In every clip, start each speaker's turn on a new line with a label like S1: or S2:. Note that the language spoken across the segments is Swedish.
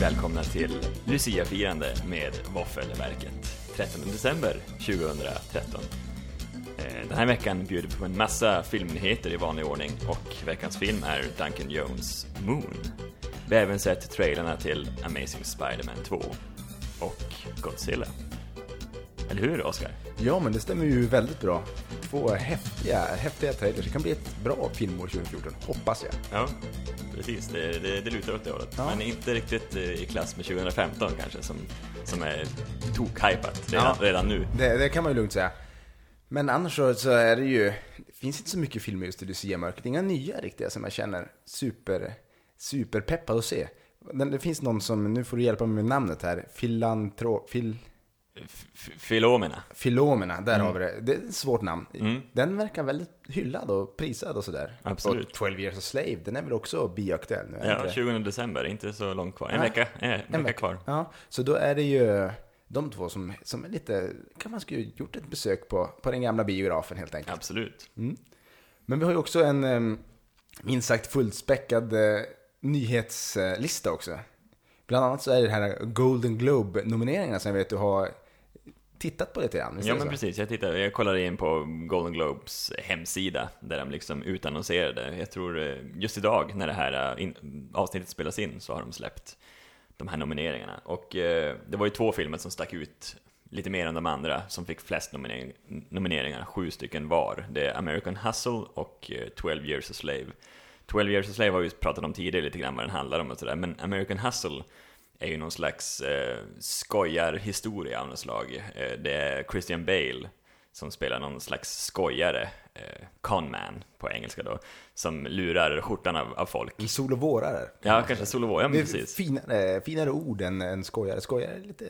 S1: välkomna till Lucia-firande med Våffelverket 13 december 2013. Eh, Den här veckan bjuder vi på en massa filmnyheter i vanlig ordning och veckans film är Duncan Jones Moon. Vi har även sett trailerna till Amazing Spider-Man 2 och Godzilla. Eller hur, Oscar?
S2: Ja, men det stämmer ju väldigt bra. Två häftiga, häftiga trailers. Det kan bli ett bra filmår 2014, hoppas jag.
S1: Ja, precis. Det, det, det lutar åt det hållet.
S2: Ja.
S1: Men inte riktigt eh, i klass med 2015 kanske, som, som är tokhypat redan,
S2: Ja.
S1: redan nu.
S2: Det, det kan man ju lugnt säga. Men annars så, så är det ju, det finns inte så mycket filmer just i Lucia-mörkret. Inga nya riktiga som jag känner super, superpeppad att se. Men det finns någon som, nu får du hjälpa mig med namnet här, Filantro, fil,
S1: F- f- Filomena.
S2: Filomena, där
S1: Mm.
S2: har vi det. Det är ett svårt namn. Den verkar väldigt hyllad och prisad och sådär.
S1: Absolut.
S2: Och 12 years a slave, den är väl också bioaktuell nu? är den
S1: Ja,
S2: inte det?
S1: 20 december, inte så långt kvar. En
S2: Nej.
S1: vecka, eh, en vecka, kvar.
S2: Ja, så då är det ju de två som, som är lite, kan man skulle gjort ett besök på, på den gamla biografen helt enkelt.
S1: Absolut.
S2: Men vi har ju också en eh, minst sagt fullspäckad eh, nyhetslista också. Bland annat så är det här Golden Globe-nomineringarna som jag vet du har tittat på lite grann. visst är
S1: Ja
S2: det
S1: men
S2: så?
S1: precis, jag, tittade, jag kollade in på Golden Globes hemsida där de liksom utannonserade, jag tror eh, just idag när det här eh, in, avsnittet spelas in så har de släppt de här nomineringarna. Och eh, det var ju två filmer som stack ut lite mer än de andra som fick flest nominering, nomineringar, sju stycken var. Det är American Hustle och eh, 12 Years a Slave. 12 Years a Slave har vi pratat om tidigare lite grann vad den handlar om och sådär, men American Hustle är ju någon slags eh, skojarhistoria av något slag. Eh, det är Christian Bale som spelar någon slags skojare, eh, conman på engelska då, som lurar skjortan av, av folk.
S2: En sol och vårare.
S1: Ja, kanske Solovå, ja men
S2: Mm. Det är
S1: precis.
S2: finare, finare ord än, än skojare. Skojare är lite...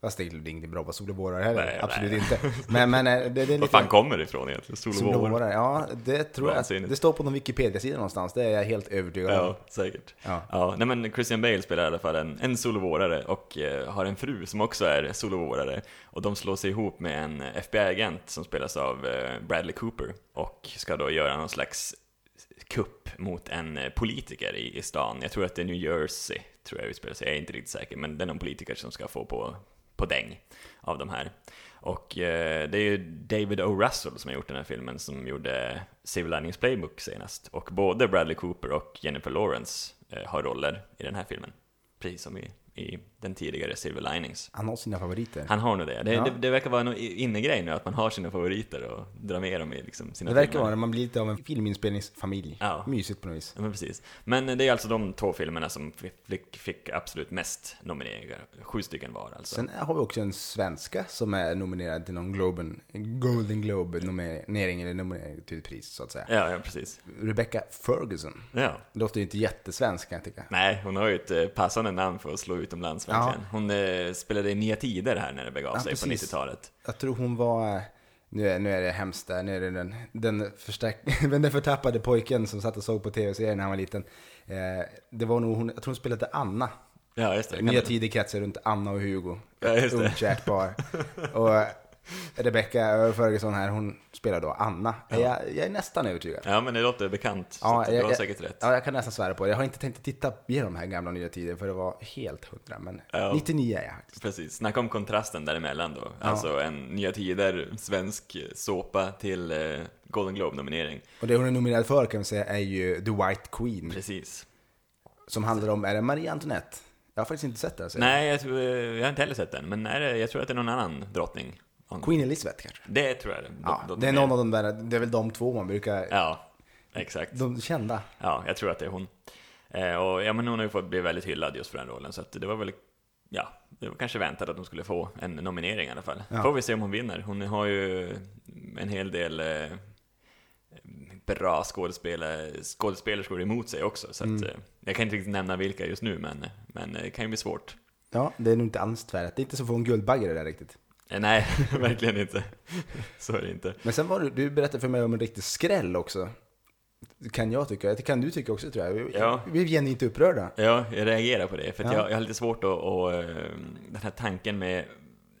S2: Fast det är väl inget bra vad sol och vårare heller.
S1: Nej,
S2: Absolut
S1: nej.
S2: inte. Men, men eh, det, det är lite...
S1: Var fan kommer det ifrån egentligen? Solovå?
S2: Solovårare, ja det tror jag.
S1: Vansinnigt.
S2: Det står på någon Wikipedia-sida någonstans, det är jag helt övertygad om.
S1: Ja, säkert.
S2: Ja.
S1: Ja. nej men Christian Bale spelar i alla fall en, en solovårare och eh, har en fru som också är solovårare. Och de slår sig ihop med en FBI-agent som spelas av eh, Bradley Cooper och ska då göra någon slags kupp mot en eh, politiker i, i stan. Jag tror att det är New Jersey, tror jag utspelar sig. Jag är inte riktigt säker, men det är någon politiker som ska få på, på däng av de här. Och eh, det är ju David O. Russell som har gjort den här filmen, som gjorde Civil Linings Playbook senast. Och både Bradley Cooper och Jennifer Lawrence eh, har roller i den här filmen. Precis som i, i den tidigare Silver Linings.
S2: Han har sina favoriter.
S1: Han har nog det. Det,
S2: Ja.
S1: det, det verkar vara en innegrej nu, att man har sina favoriter och drar med dem i liksom sina
S2: det verkar
S1: filmer.
S2: vara det, man blir lite av en filminspelningsfamilj.
S1: Ja.
S2: Mysigt på något vis.
S1: Ja, men precis. Men det är alltså de två filmerna som fick, fick, fick absolut mest nomineringar. Sju stycken var alltså.
S2: Sen har vi också en svenska som är nominerad till någon Globen, Golden Globe-nominering, eller nominering till ett pris så att säga.
S1: Ja, ja precis.
S2: Rebecca Ferguson.
S1: Ja.
S2: Låter ju inte jättesvensk kan jag tycka.
S1: Nej, hon har ju ett eh, passande namn för att slå utomlands verkligen. Hon eh, spelade i Nya Tider här när det begav
S2: Ja,
S1: sig på
S2: precis.
S1: 90-talet.
S2: Jag tror hon var, nu är, nu är det hemskt där, nu är det den, den, förstärk, men den förtappade pojken som satt och såg på tv-serien när han var liten. Eh, det var nog hon, jag tror hon spelade Anna.
S1: Ja, just det.
S2: Nya
S1: Kan-
S2: tider kretsar runt Anna och Hugo.
S1: Ja,
S2: Ett
S1: just det.
S2: ungt kärt par. Och eh, Rebecca Ferguson här, hon spelar då Anna. Jag, jag är nästan övertygad.
S1: Ja, men det låter bekant. så att du har säkert rätt.
S2: Ja, jag kan nästan svära på det. Jag har inte tänkt att titta igenom de här gamla nya tider för det var helt hundra, men
S1: Ja.
S2: 99 är jag.
S1: Precis, snacka om kontrasten däremellan då. Alltså en Nya Tider, svensk såpa till eh, Golden Globe-nominering.
S2: Och det hon är nominerad för kan vi säga är ju The White Queen.
S1: Precis.
S2: Som handlar om, är det Marie Antoinette? Jag har faktiskt inte sett den. serien.
S1: Nej, jag, tror, eh, jag har inte heller sett den, men är det, jag tror att det är någon annan drottning.
S2: Queen Elizabeth kanske?
S1: Det tror jag det
S2: Ja, det är någon av de där, det är väl de två man brukar,
S1: Ja, exakt.
S2: de kända.
S1: Ja, jag tror att det är hon. Eh, och ja, men hon har ju fått bli väldigt hyllad just för den rollen, så att det var väl, ja, det var kanske väntat att hon skulle få en nominering i alla fall.
S2: Ja.
S1: Får vi se om hon vinner. Hon har ju en hel del eh, bra skådespelare, skådespelerskor emot sig också, så att, eh, jag kan inte riktigt nämna vilka just nu, men, men det kan ju bli svårt.
S2: Ja, det är nog inte alls tvärt. Det är inte så få en Guldbagge det där riktigt.
S1: Eh, nej, verkligen inte. så är det inte.
S2: Men sen var du, du berättade för mig om en riktig skräll också. Det Kan jag tycka, det kan du tycka också tror jag. Vi-
S1: Ja.
S2: Vi är genuint upprörda.
S1: Ja, jag reagerar på det, för att
S2: Ja.
S1: jag, jag har lite svårt att, att... eh, Den här tanken med...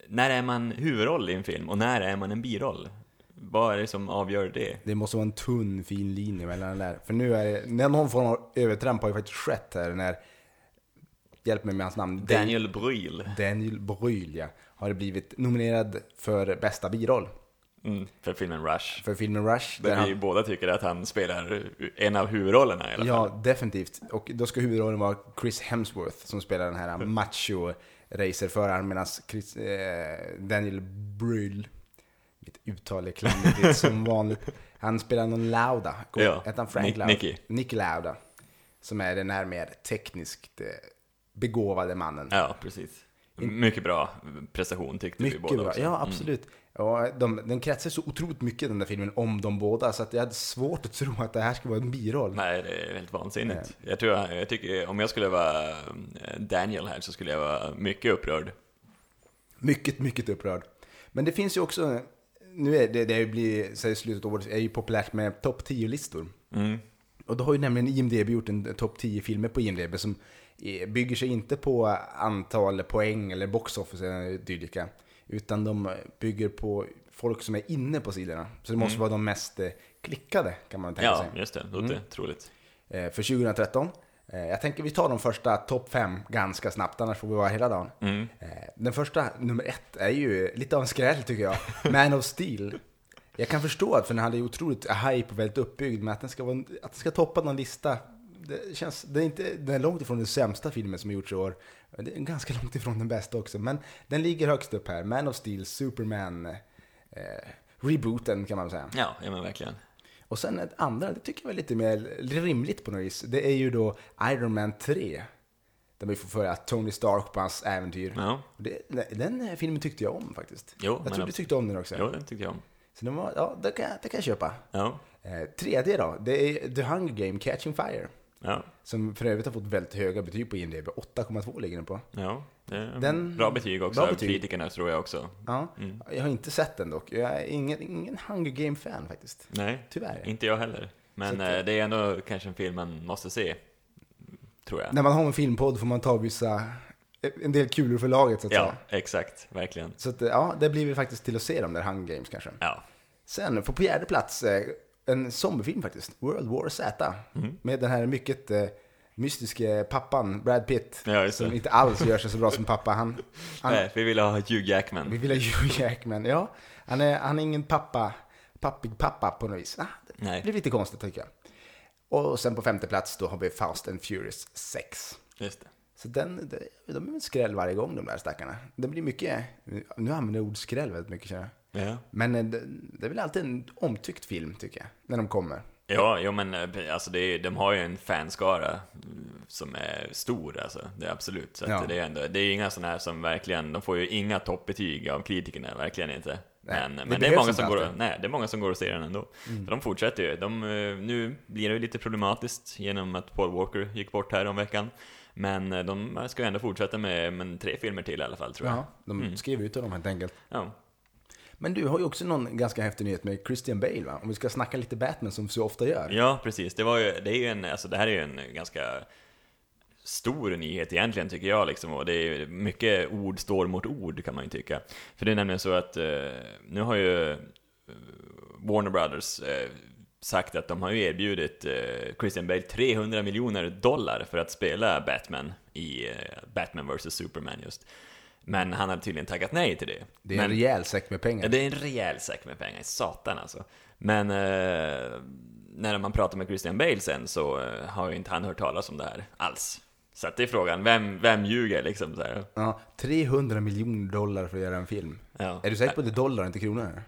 S1: När är man huvudroll i en film och när är man en biroll? Vad är det som avgör det?
S2: Det måste vara en tunn fin linje mellan det där. För nu är det, när någon form av övertramp har ju faktiskt skett här när hjälp mig med hans namn.
S1: Daniel Brühl.
S2: Daniel Brühl, ja. Har blivit nominerad för bästa biroll
S1: Mm, för filmen Rush.
S2: för filmen Rush.
S1: Där
S2: där han-
S1: vi båda tycker att han spelar en av huvudrollerna i alla fall.
S2: Ja, definitivt. Och då ska huvudrollen vara Chris Hemsworth som spelar den
S1: Mm.
S2: här macho racerföraren medan Chris, eh, Daniel Brühl, mitt uttal är klantigt som vanligt, han spelar någon Lauda. Kommer-
S1: Ja,
S2: Hette han Frank
S1: Nick-
S2: Lauda?
S1: Nicky.
S2: Nicky Lauda. Som är den här mer tekniskt eh, begåvade mannen.
S1: Ja, precis. Mycket bra prestation tyckte vi båda
S2: Mycket bra,
S1: också. Mm.
S2: ja absolut. Ja, de, den kretsar så otroligt mycket den där filmen om de båda så att jag hade svårt att tro att det här skulle vara en biroll.
S1: Nej, det är helt vansinnigt. Jag tror, jag tycker, om jag skulle vara eh, Daniel här så skulle jag vara mycket upprörd.
S2: Mycket, mycket upprörd. Men det finns ju också, nu är det, det har ju blivit, så här i slutet av året, är ju populärt med topp 10-listor.
S1: Mm.
S2: Och då har ju nämligen IMDB gjort en topp 10-filmer på IMDB som eh, bygger sig inte på antal poäng eller box office eller dylika. Utan de bygger på folk som är inne på sidorna. Så det måste vara de mest eh, klickade kan man tänka
S1: Ja,
S2: sig.
S1: just det. Låter
S2: Mm.
S1: troligt.
S2: Eh, För 2013. Eh, Jag tänker vi tar de första topp fem ganska snabbt, annars får vi vara hela dagen.
S1: Mm.
S2: Eh, Den första, nummer ett, är ju lite av en skräll tycker jag. Man of Steel. Jag kan förstå att för den hade ju otroligt hype och väldigt uppbyggd, men att den ska, vara, en- att den ska toppa någon lista, det känns, det är, inte, den är långt ifrån den sämsta filmen som gjorts i år. Det är ganska långt ifrån den bästa också, men den ligger högst upp här. Man of Steel, Superman, eh, rebooten kan man säga.
S1: Ja, ja men verkligen.
S2: Och sen ett andra, det tycker jag är lite mer rimligt på något vis. Det är ju då Iron Man 3. Där vi får följa Tony Stark på hans äventyr.
S1: Ja.
S2: Det, den här filmen tyckte jag om faktiskt.
S1: Jo,
S2: jag
S1: men
S2: tror du
S1: abs-
S2: tyckte om den också.
S1: Jo, det tyckte jag om.
S2: Så den var, ja, det kan, jag- det kan jag köpa.
S1: Ja,
S2: Eh, tredje då, det är The Hunger Game Catching Fire.
S1: ja,
S2: Som för övrigt har fått väldigt höga betyg på IMDB. 8,2 ligger den på.
S1: ja. Det är
S2: Den-
S1: bra betyg också
S2: bra
S1: av
S2: betyg.
S1: kritikerna tror jag också.
S2: Ja,
S1: Mm.
S2: Jag har inte sett den dock. Jag är ingen, ingen Hunger Game-fan faktiskt.
S1: Nej,
S2: Tyvärr.
S1: inte jag heller. Men
S2: Så att-
S1: eh, det är ändå kanske en film man måste se. Tror jag.
S2: När man har en filmpodd får man ta vissa, eh, en del kulor för laget så att säga.
S1: Ja, exakt. Verkligen.
S2: Så att, eh, ja, det blir väl faktiskt till att se de där Hunger Games kanske.
S1: Ja,
S2: Sen, på fjärde plats, eh, en zombiefilm faktiskt. World War Z.
S1: Mm.
S2: Med den här mycket eh, mystiske pappan, Brad Pitt.
S1: Ja, just det.
S2: som inte alls gör sig så bra som pappa. Han, han,
S1: Nej, Eh, vi ville ha Hugh Jackman.
S2: vi vill ha Hugh Jackman. Ja, han är, han är ingen pappa, pappig pappa på något vis. Ah, det
S1: Nej.
S2: blir lite konstigt tycker jag. Och sen på femte plats då har vi Fast and Furious 6.
S1: Just det.
S2: Så den, de- de är väl skräll varje gång de där stackarna. Det blir mycket, nu använder jag ord skräll väldigt mycket känner jag.
S1: Ja.
S2: Men eh, det, det är väl alltid en omtyckt film tycker jag, när de kommer.
S1: Ja, jo, men eh, alltså det är, de har ju en fanskara mm, som är stor, alltså. Det är absolut. Så att
S2: Ja.
S1: det, är ändå, det är inga sådana här som verkligen, de får ju inga toppbetyg av kritikerna, verkligen inte.
S2: Nej,
S1: men
S2: det
S1: men det, är
S2: behövs
S1: många
S2: inte
S1: som går, och-
S2: alltid. Mm.
S1: nej, det är många som går och ser den ändå. För de fortsätter ju. De, eh, nu blir det ju lite problematiskt genom att Paul Walker gick bort här om veckan. Men eh, de ska ju ändå fortsätta med, med tre filmer till i alla fall, tror jag.
S2: Ja, de
S1: Mm.
S2: skriver ut av dem helt enkelt.
S1: Ja.
S2: Men du har ju också någon ganska häftig nyhet med Christian Bale va? Om vi ska snacka lite Batman som vi så ofta gör.
S1: Ja, precis. Det, var ju, det, är ju en, alltså, det här är ju en ganska stor nyhet egentligen, tycker jag. Liksom. Och det är ju mycket ord står mot ord, kan man ju tycka. För det är nämligen så att eh, nu har ju eh, Warner Brothers eh, sagt att de har ju erbjudit eh, Christian Bale 300 miljoner dollar för att spela Batman i eh, Batman vs. Superman just. Men han hade tydligen tackat nej till det.
S2: Det är
S1: Men-
S2: en rejäl säck med pengar.
S1: Ja, det är en rejäl säck med pengar, satan alltså. Men eh, när man pratar med Christian Bale sen så eh, har ju inte han hört talas om det här alls. Så att det är frågan, vem, vem ljuger liksom? Så här.
S2: Ja, 300 miljoner dollar för att göra en film.
S1: Ja.
S2: Är du säker på att det är dollar, inte kronor?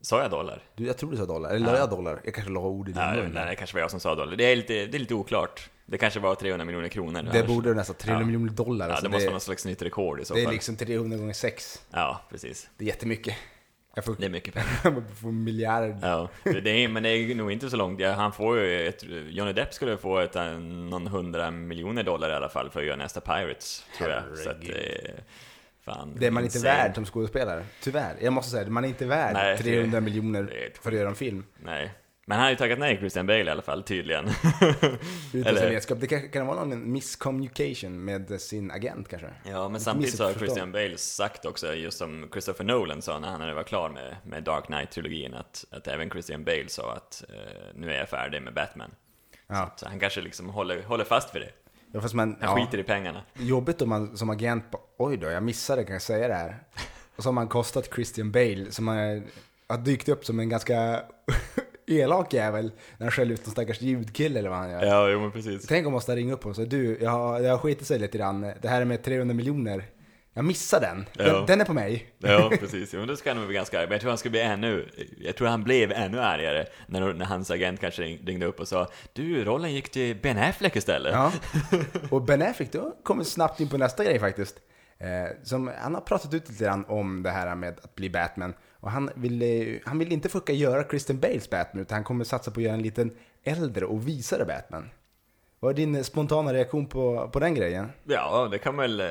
S1: Sa jag dollar?
S2: Du, jag tror du sa dollar. Eller la jag dollar? Jag kanske la ord i din
S1: Ja,
S2: mun.
S1: nej, det kanske var jag som sa dollar. Det är lite, det är lite oklart. Det kanske var 300 miljoner kronor.
S2: Det
S1: annars-
S2: borde nästan 300
S1: Ja.
S2: miljoner dollar.
S1: Ja,
S2: Alltså,
S1: det måste
S2: det,
S1: vara någon slags nytt rekord i så
S2: det är
S1: fall.
S2: liksom 300 gånger 6.
S1: Ja, precis.
S2: Det är jättemycket. Jag får,
S1: Det är mycket pengar.
S2: jag får miljarder.
S1: Ja, det är, men det är nog inte så långt. Ja, Han får ju ett, Johnny Depp skulle få ett, eh, någon hundra miljoner dollar i alla fall för att göra nästa Pirates, tror jag. Så att, eh, fan,
S2: Det är man inte
S1: insane.
S2: värd som skådespelare. Tyvärr. Jag måste säga det, man är inte värd
S1: Nej, det-
S2: 300
S1: det
S2: miljoner
S1: är-
S2: för att göra en film.
S1: Nej. Men han har ju tackat nej Christian Bale i alla fall, tydligen.
S2: Utan
S1: Eller-
S2: sin vetskap. Det kanske kan vara någon misscommunication med sin agent kanske.
S1: Ja, men samtidigt så har
S2: missförstånd.
S1: Christian Bale sagt också, just som Christopher Nolan sa när han var klar med, med Dark Knight-trilogin, att, att även Christian Bale sa att eh, nu är jag färdig med Batman.
S2: Ja.
S1: Så han kanske liksom håller, håller fast vid det.
S2: Ja, fast man,
S1: Han
S2: ja,
S1: skiter i pengarna.
S2: jobbigt om man som agent bara, oj då, jag missade, kan jag säga det här? Och så har man kostat Christian Bale som har, har dykt upp som en ganska elak jävel när han skäller ut en stackars ljudkille eller vad han gör.
S1: Ja, jo men precis.
S2: Tänk om man ska ringa upp och säga du, jag har, jag har skitit sig lite grann. Det här är med 300 miljoner. Jag missade den. Den,
S1: Ja.
S2: den är på mig.
S1: Ja, precis. Jo, men då ska han nog bli ganska arg. Men jag tror han skulle bli ännu... Jag tror han blev ännu argare när, när hans agent kanske ring- ringde upp och sa Du, rollen gick till Ben Affleck istället.
S2: Ja. Och Ben Affleck, då kommer snabbt in på nästa grej faktiskt. Eh, som, han har pratat ut lite grann om det här med att bli Batman. Och han vill, eh, han vill inte försöka göra Christian Bales Batman, utan han kommer satsa på att göra en liten äldre och visare Batman. Vad är din eh, spontana reaktion på, på den grejen?
S1: Ja, det kan väl... eh,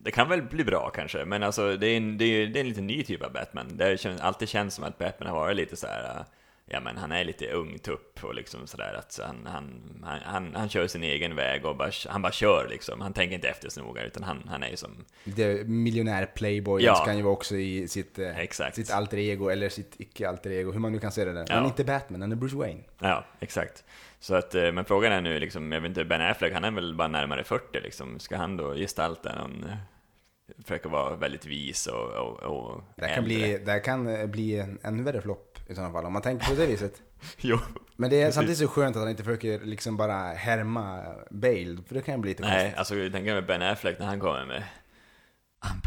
S1: Det kan väl bli bra kanske, men alltså det är en, det är, det är en lite ny typ av Batman. Det känns, alltid känns som att Batman har varit lite så här. eh, Ja men han är lite ung tupp och liksom sådär att så han, han, han, han, han kör sin egen väg och bara, han bara kör liksom. Han tänker inte efter så noga utan han, han är ju som,
S2: Det miljonär playboy
S1: Ja.
S2: ska han ju vara också i sitt, eh,
S1: Exakt.
S2: sitt alter ego, eller sitt icke-alter ego, hur man nu kan se det där.
S1: Ja.
S2: Han är inte Batman, han är Bruce Wayne.
S1: ja exakt. Så att, eh, men frågan är nu liksom, jag vet inte, Ben Affleck han är väl bara närmare 40 liksom. Ska han då gestalta någon, eh, försöka vara väldigt vis och, och, och
S2: Det här kan,
S1: äldre?
S2: bli, det här kan eh, bli en ännu värre flopp i sådana fall, om man tänker på det viset.
S1: Jo,
S2: Men det är samtidigt så skönt att han inte försöker liksom bara härma Bale, för det kan bli lite
S1: Nej, alltså jag tänker med Ben Affleck när han kommer med I'm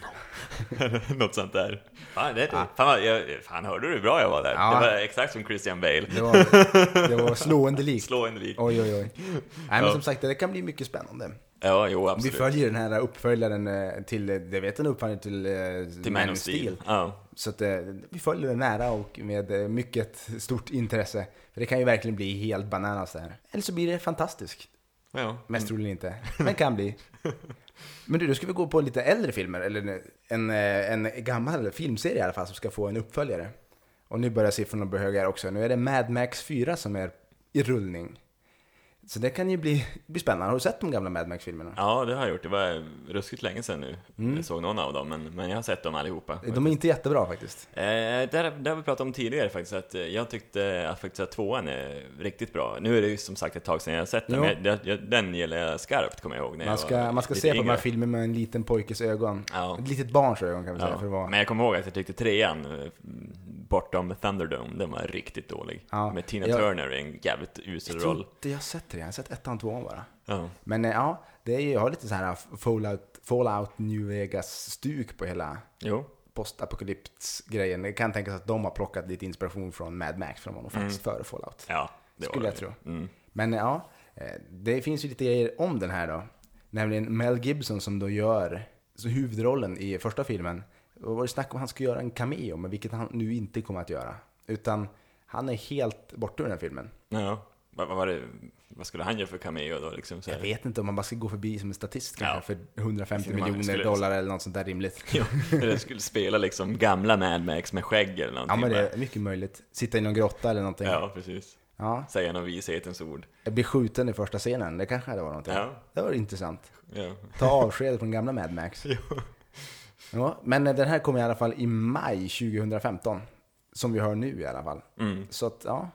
S1: Batman. Något sånt där. Fan, det, fan, vad- jag, fan, hörde du hur bra jag var där?
S2: Ja.
S1: Det var exakt som Christian Bale.
S2: Det var, det var slående likt.
S1: Slå en lik.
S2: Oj, oj, oj. Nej, men
S1: Ja.
S2: som sagt, det kan bli mycket spännande.
S1: Ja, jo,
S2: Vi
S1: absolut.
S2: följer den här uppföljaren eh, till, eh, det vet en uppföljare till, eh,
S1: Till Man of Steel. Ja.
S2: Så att, eh, vi följer det nära och med eh, mycket stort intresse. För det kan ju verkligen bli helt bananas där. Eller så blir det fantastiskt.
S1: ja.
S2: Mest troligen inte, men kan bli. Men du, då ska vi gå på lite äldre filmer, eller en, eh, en gammal filmserie i alla fall som ska få en uppföljare. Och nu börjar siffrorna bli höga här också. Nu är det Mad Max 4 som är i rullning. Så det kan ju bli, bli spännande. Har du sett de gamla Mad Max-filmerna?
S1: ja, det har jag gjort. Det var ruskigt länge sedan nu. Jag såg någon av dem, men, men jag har sett dem allihopa.
S2: Mm. De är inte jättebra faktiskt.
S1: Eh, där, där har vi pratat om tidigare faktiskt, att eh, jag tyckte att faktiskt att tvåan är riktigt bra. Nu är det ju som sagt ett tag sedan jag har sett den,
S2: Jo.
S1: men jag, jag, den gillar jag skarpt kommer jag ihåg. När
S2: Man
S1: jag
S2: ska,
S1: var
S2: man ska
S1: lite
S2: se på de
S1: yngre.
S2: här filmerna med en liten pojkes ögon.
S1: Ja.
S2: Ett litet barns ögon kan vi säga.
S1: Ja,
S2: För att vara.
S1: Men jag kommer ihåg att jag tyckte trean, eh, bortom Thunderdome, den var riktigt dålig.
S2: Ja,
S1: Med Tina
S2: jag-
S1: Turner i en jävligt usel
S2: jag tror
S1: roll.
S2: inte jag har sett det, jag har sett ettan och tvåan bara.
S1: Ja.
S2: Men eh, ja, det är ju, jag har lite så här Fallout, Fallout New Vegas-stuk på hela
S1: Jo.
S2: postapokalyps-grejen. Det kan tänkas att de har plockat lite inspiration från Mad Max, för de var nog faktiskt före Fallout.
S1: Mm. Ja, det
S2: skulle
S1: var
S2: jag
S1: det.
S2: tro.
S1: Mm.
S2: Men eh, ja, eh, det finns ju lite grejer om den här då. Nämligen Mel Gibson som då gör så huvudrollen i första filmen. Och var det snack om att han skulle göra en cameo, men vilket han nu inte kommer att göra. Utan han är helt borta ur den här filmen.
S1: Ja. Vad, vad, var det, vad skulle han göra för cameo då liksom? Så
S2: Jag
S1: här?
S2: vet inte om man bara ska gå förbi som en statist kanske för 150
S1: Man
S2: miljoner
S1: skulle-
S2: dollar eller något sånt där rimligt.
S1: Ja, eller skulle spela liksom gamla Mad Max med skägg eller
S2: Ja
S1: någonting.
S2: men det är mycket möjligt. Sitta i någon grotta eller någonting.
S1: bara. ja precis.
S2: Ja.
S1: Säga någon vishetens ord.
S2: Bli skjuten i första scenen, det kanske hade varit någonting.
S1: Ja.
S2: Det var intressant.
S1: Ja.
S2: Ta avsked från gamla Mad Max. Ja, men den här kommer i alla fall i maj 2015. Som vi hör nu i alla fall.
S1: Mm.
S2: Så att ja,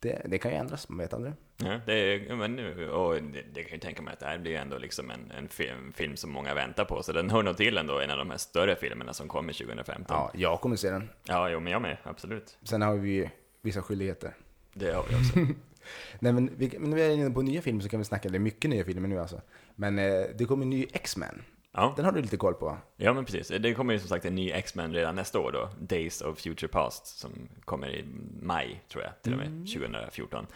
S2: det, det kan ju ändras, man vet aldrig.
S1: Ja, det, är- men nu, och det, det kan ju tänka mig att det här blir ändå liksom en, en film, film som många väntar på, så den hör nog till ändå en av de här större filmerna som kommer 2015.
S2: Ja, jag kommer se den.
S1: Ja, jo, men jag med. Absolut.
S2: Sen har vi ju vissa skyldigheter.
S1: Det har vi också.
S2: Nej, men vi, men när vi är inne på nya filmer så kan vi snacka, det är mycket nya filmer nu alltså. Men eh, det kommer en ny X-Men.
S1: Ja,
S2: Den har du lite koll på va?
S1: ja men precis. Det kommer ju som sagt en ny X-Men redan nästa år då, Days of Future Past, som kommer i maj, tror jag, till och med,
S2: Mm.
S1: 2014.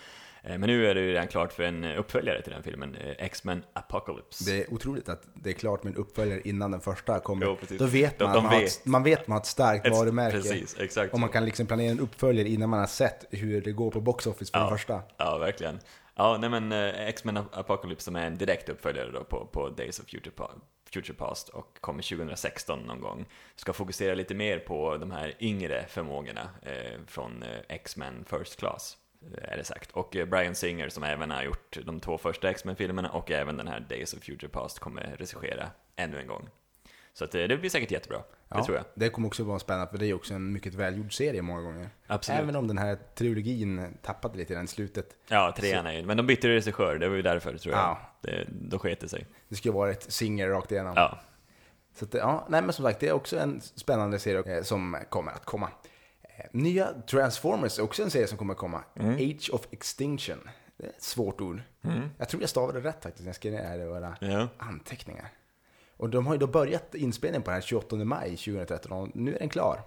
S1: Eh, Men nu är det ju redan klart för en uppföljare till den filmen, eh, X-Men Apocalypse.
S2: Det är otroligt att det är klart med en uppföljare innan den första kommer.
S1: Jo, precis.
S2: Då vet
S1: De-
S2: man,
S1: de
S2: att man, Har ett,
S1: vet.
S2: man vet att man har ett starkt
S1: Ett-
S2: varumärke.
S1: Precis, exakt.
S2: Och man
S1: så.
S2: kan liksom planera en uppföljare innan man har sett hur det går på box office för den första.
S1: Ja, verkligen. Ja, nej men eh, X-Men Ap- Apocalypse som är en direkt uppföljare då på, på Days of Future, pa- Future Past och kommer 2016 någon gång. Ska fokusera lite mer på de här yngre förmågorna eh, från eh, X-Men First Class. eh, Är det sagt. Och eh, Brian Singer som även har gjort de två första X-Men-filmerna och även den här Days of Future Past kommer regissera ännu en gång. Så att, eh, det blir säkert jättebra. Det tror jag.
S2: Det kommer också vara spännande, för det är också en mycket välgjord serie många gånger.
S1: Absolut.
S2: Även om den här trilogin tappade lite grann i slutet.
S1: Ja, trean är ju... Men de bytte ju regissör, det var ju därför tror jag.
S2: Ja.
S1: Det, då sket det sig.
S2: Det skulle vara ett singer rakt igenom.
S1: Ja.
S2: Så att, ja, nej, men som sagt, det är också en spännande serie eh, som kommer att komma. Eh, Nya Transformers är också en serie som kommer att komma. Age of Extinction. Det är ett svårt ord. Jag tror jag stavade det rätt faktiskt när jag skrev ner det här i våra
S1: Ja.
S2: anteckningar. Och de har ju då börjat inspelningen på den här 28 maj 2013 och nu är den klar.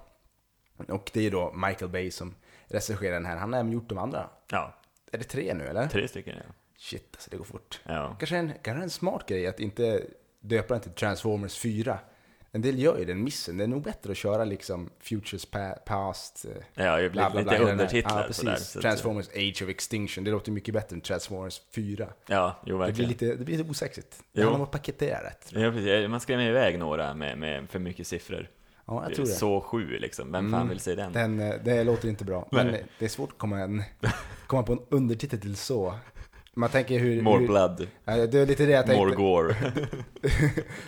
S2: Och det är ju då Michael Bay som recenserar den här. Han har även gjort de andra.
S1: ja,
S2: Är det tre nu eller?
S1: tre stycken ja.
S2: Shit, alltså det går fort.
S1: Ja.
S2: Kanske en, kanske en smart grej att inte döpa den till Transformers 4. En del gör ju den missen. Det är nog bättre att köra liksom Futures pa- Past. eh,
S1: Ja, det blir lite
S2: hela den här.
S1: undertitlar
S2: Ja,
S1: sådär,
S2: precis.
S1: så att-
S2: Transformers Age of Extinction. Det låter mycket bättre än Transformers 4.
S1: Ja, jo
S2: Det blir
S1: verkligen.
S2: lite, det blir lite osexigt.
S1: Jo.
S2: Det handlar om att paketera rätt. tror jag.
S1: Ja, precis. Man skrämmer iväg några med, med för mycket siffror.
S2: Ja, jag tror det.
S1: Så sju liksom, vem fan vill se den?
S2: Den, eh, det låter inte bra. Men
S1: Nej.
S2: eh, det är svårt att komma, en, komma på en undertitel till så. Man tänker hur...
S1: More
S2: hur
S1: blood,
S2: Ja, det är lite det jag tänkte.
S1: more gore.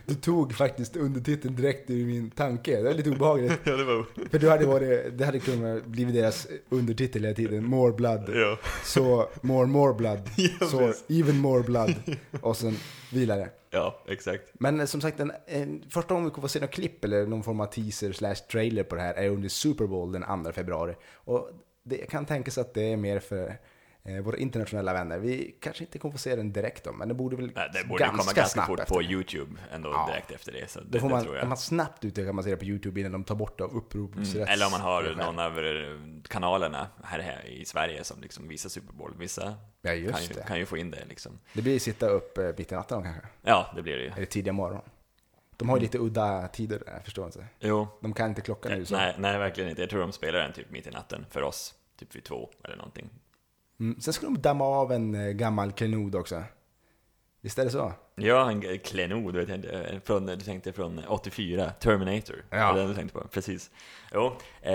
S2: Du tog faktiskt undertiteln direkt ur min tanke. Det var lite obehagligt.
S1: ja, det var...
S2: För du hade varit, det hade kunnat blivit deras undertitel hela tiden. More blood.
S1: Ja.
S2: Så more more blood.
S1: Ja,
S2: Så
S1: precis.
S2: even more blood. Och sen vilare.
S1: ja, exakt.
S2: Men eh, som sagt, en, en, första gången vi kommer få se något klipp eller någon form av teaser slash trailer på det här är under Super Bowl den 2 februari. Och det jag kan tänkas att det är mer för eh, våra internationella vänner. Vi kanske inte kommer få se den direkt då, men det borde väl
S1: Nej, Det borde ganska komma ganska
S2: snabbt
S1: fort
S2: efter.
S1: på YouTube ändå
S2: Ja.
S1: direkt efter det, så det,
S2: Då får
S1: det
S2: man,
S1: tror
S2: om
S1: jag.
S2: man snabbt utökar man ser det på YouTube innan de tar bort det av uppropsrätts...
S1: Mm. Eller om man har någon av eh, kanalerna här, här i Sverige som liksom visar Super Bowl. Vissa
S2: Ja, just
S1: kan, ju,
S2: det.
S1: kan ju få in det liksom.
S2: Det blir sitta upp eh, mitt i natten då kanske.
S1: Ja, det blir det ju.
S2: Eller tidiga morgon. De har ju lite udda tider där, förstår jag inte.
S1: Jo,
S2: De kan inte klockan i USA.
S1: nej, nej, verkligen inte. Jag tror de spelar den typ mitt i natten för oss, typ vid två eller någonting.
S2: Mm. Sen ska de damma av en eh, gammal klenod också. Visst är det så?
S1: Ja, en g- klenod, vet jag inte, eh, från, du tänkte från 84, Terminator.
S2: Ja.
S1: Ja. Det du tänkte på, precis. Jo, eh,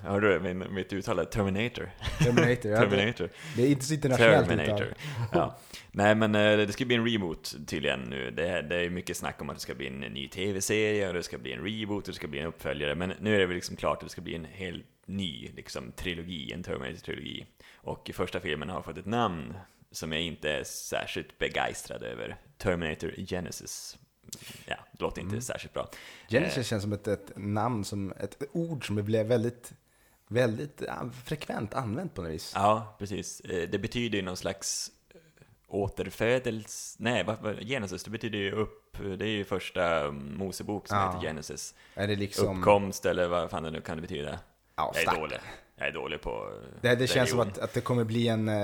S1: hörde du min, mitt uttal? är Terminator.
S2: Terminator. ja, det-
S1: Terminator.
S2: Det är inte så internationellt
S1: Terminator.
S2: utan-
S1: Ja. Nej, men eh, det ska bli en reboot tydligen nu. Det, är- det är ju mycket snack om att det ska bli en ny tv-serie, och det ska bli en reboot, och det ska bli en uppföljare. Men nu är det väl liksom klart att det ska bli en helt ny liksom, trilogi, en Terminator-trilogi. Och i första filmen har fått ett namn som jag inte är särskilt begeistrad över. Terminator Genesis. Ja, det låter inte särskilt bra. Eh.
S2: Genesis känns som ett, ett namn, som ett ord som blev väldigt, väldigt ja, frekvent använt på något vis.
S1: Ja, precis. Eh, Det betyder ju någon slags eh, återfödels... Nej, vad, vad, Genesis, det betyder ju upp... Det är ju första mm, Mosebok som
S2: Ja.
S1: heter Genesis.
S2: Är det liksom...
S1: Uppkomst eller vad fan det nu kan det betyda.
S2: Ja,
S1: Jag är
S2: stack.
S1: dålig. Jag är dålig på eh,
S2: Det, det känns som
S1: religion.
S2: att, att det kommer bli en... eh,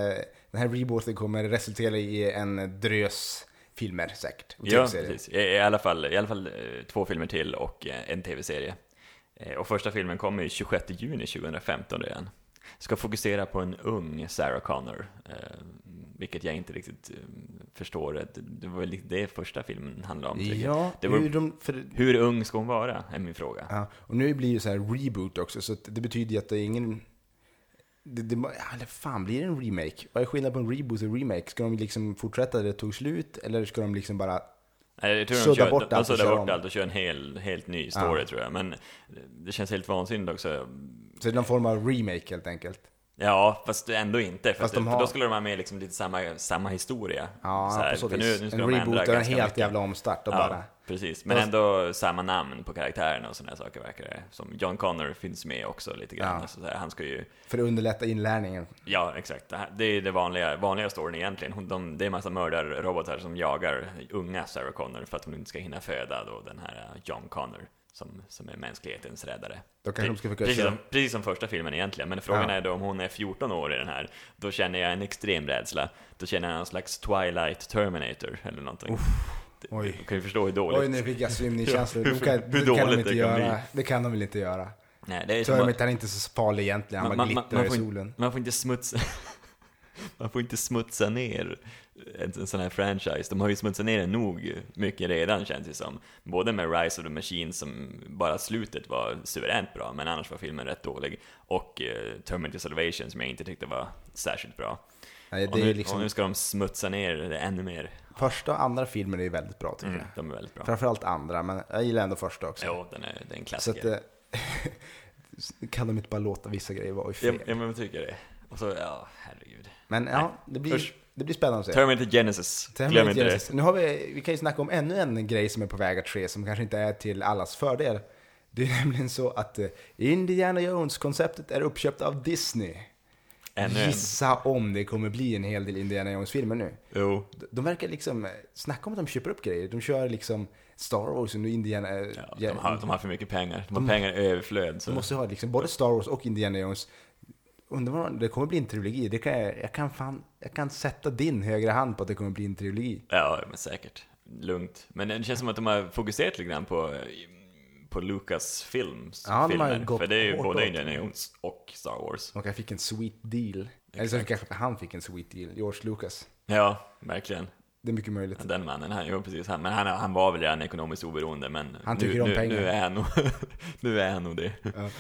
S2: Den här rebooten kommer resultera i en drös filmer säkert. och
S1: Ja,
S2: tv-serier.
S1: precis. I, i, alla fall, I alla fall eh, två filmer till och eh, en tv-serie. Eh, Och första filmen kommer ju 26 juni 2015 redan. Ska fokusera på en ung Sarah Connor, eh, vilket jag inte riktigt eh, förstår. Det- Det var väl lite det första filmen handlade om. tycker jag.
S2: Ja,
S1: Det var-
S2: hur de, för,
S1: Hur ung ska hon vara, är min fråga.
S2: ja, och nu blir det ju så här reboot också, så att det betyder ju att det är ingen... Det, det, må- ja, eller fan, blir det en remake? Vad är skillnaden på en reboot och remake? Ska de liksom fortsätta där det tog slut, eller ska de liksom bara...
S1: Nej, Eh, Jag tror de
S2: Sudda
S1: kör,
S2: bort
S1: de- de
S2: allt och
S1: suddar
S2: kör
S1: bort
S2: om.
S1: allt och kör en hel, helt ny story tror jag. Men det känns helt vansinnigt också.
S2: Så det är någon form av remake helt enkelt.
S1: Ja, fast ändå inte. För,
S2: Fast de
S1: för
S2: har-
S1: då skulle de ha med liksom lite samma, samma historia.
S2: Ja,
S1: Så här,
S2: på så
S1: för
S2: vis.
S1: nu, nu ska
S2: en
S1: de ändra
S2: reboot och en
S1: ganska
S2: helt
S1: mycket.
S2: jävla omstart och
S1: Ja,
S2: bara...
S1: precis. Men
S2: Fast-
S1: ändå samma namn på karaktärerna och sådana saker verkar det Som John Connor finns med också lite grann.
S2: Ja.
S1: Alltså, så här, han ska ju...
S2: För att underlätta inlärningen.
S1: Ja, exakt. Det här- Det är det vanliga, vanliga storyn egentligen. Hon, de, det är en massa mördarrobotar som jagar unga Sarah Connor för att hon inte ska hinna föda då den här eh, John Connor som, som är mänsklighetens räddare.
S2: Då kanske de ska försöka
S1: precis,
S2: köra-
S1: som, precis som första filmen egentligen, men frågan
S2: Ja.
S1: är då om hon är 14 år i den här, då känner jag en extrem rädsla. Då känner jag någon slags Twilight Terminator eller någonting. Det-
S2: oj.
S1: Du kan ju förstå hur dåligt.
S2: Oj, nu fick jag svimningskänslor.
S1: Ja,
S2: De kan,
S1: hur
S2: det kan de
S1: dåligt
S2: inte
S1: det kan
S2: göra.
S1: bli.
S2: Det kan de väl inte göra.
S1: Nej, det är som att-
S2: Termit är inte så farlig egentligen, han bara glittrar i
S1: får inte-
S2: solen.
S1: man får inte smutsa... Man får inte smutsa ner en, en sån här franchise. De har ju smutsat ner den nog mycket redan känns det som. Både med Rise of the Machine som bara slutet var suveränt bra, men annars var filmen rätt dålig. Och eh, Terminator Salvation som jag inte tyckte var särskilt bra.
S2: Nej,
S1: och,
S2: det är
S1: nu,
S2: ju liksom,
S1: och nu ska de smutsa ner det ännu mer.
S2: Första och andra filmen är ju väldigt bra tycker
S1: Mm,
S2: jag.
S1: de är väldigt bra.
S2: Framförallt andra, men jag gillar ändå första också.
S1: Jo, den är, den är en
S2: så
S1: klassiker.
S2: att, eh, kan de inte bara låta vissa grejer vara i
S1: ja,
S2: fred?
S1: ja, men jag tycker det. Och så, ja, herregud.
S2: Men ja, det
S1: Usch.
S2: blir, det blir spännande att se.
S1: Terminator Genesis.
S2: Terminator
S1: Glöm inte det.
S2: Genesis. Nu har vi, vi kan ju snacka om ännu en grej som är på väg att ske som kanske inte är till allas fördel. Det är nämligen så att eh, Indiana Jones-konceptet är uppköpt av Disney.
S1: Ännu en.
S2: Gissa om det kommer bli en hel del Indiana Jones-filmer nu.
S1: Jo.
S2: De- De verkar liksom, eh, snacka om att de köper upp grejer. De kör liksom Star Wars och nu Indiana... eh,
S1: Ja,
S2: ja,
S1: de, har, de har för mycket pengar. De har pengar i överflöd. Så.
S2: de måste ha liksom både Star Wars och Indiana Jones. Undrar om det kommer bli en trilogi. Det kan jag, jag kan fan, jag kan sätta din högra hand på att det kommer bli en trilogi.
S1: Ja, men säkert. Lugnt. Men det känns som att de har fokuserat lite grann på, eh, på Lucas films
S2: Ja, de har
S1: filmer.
S2: gått
S1: För det är ju
S2: hårt
S1: både
S2: åt
S1: Indiana Jones och Star Wars.
S2: Och jag fick en sweet deal. Eller så kanske inte han fick en sweet deal, George Lucas.
S1: Ja, verkligen.
S2: Det är mycket möjligt.
S1: Den mannen, han, jo, precis han. Men han, han var väl redan ekonomiskt oberoende, men
S2: Han
S1: nu,
S2: tycker om
S1: nu,
S2: pengar.
S1: nu är han nog, nu är han nog det.
S2: Ja.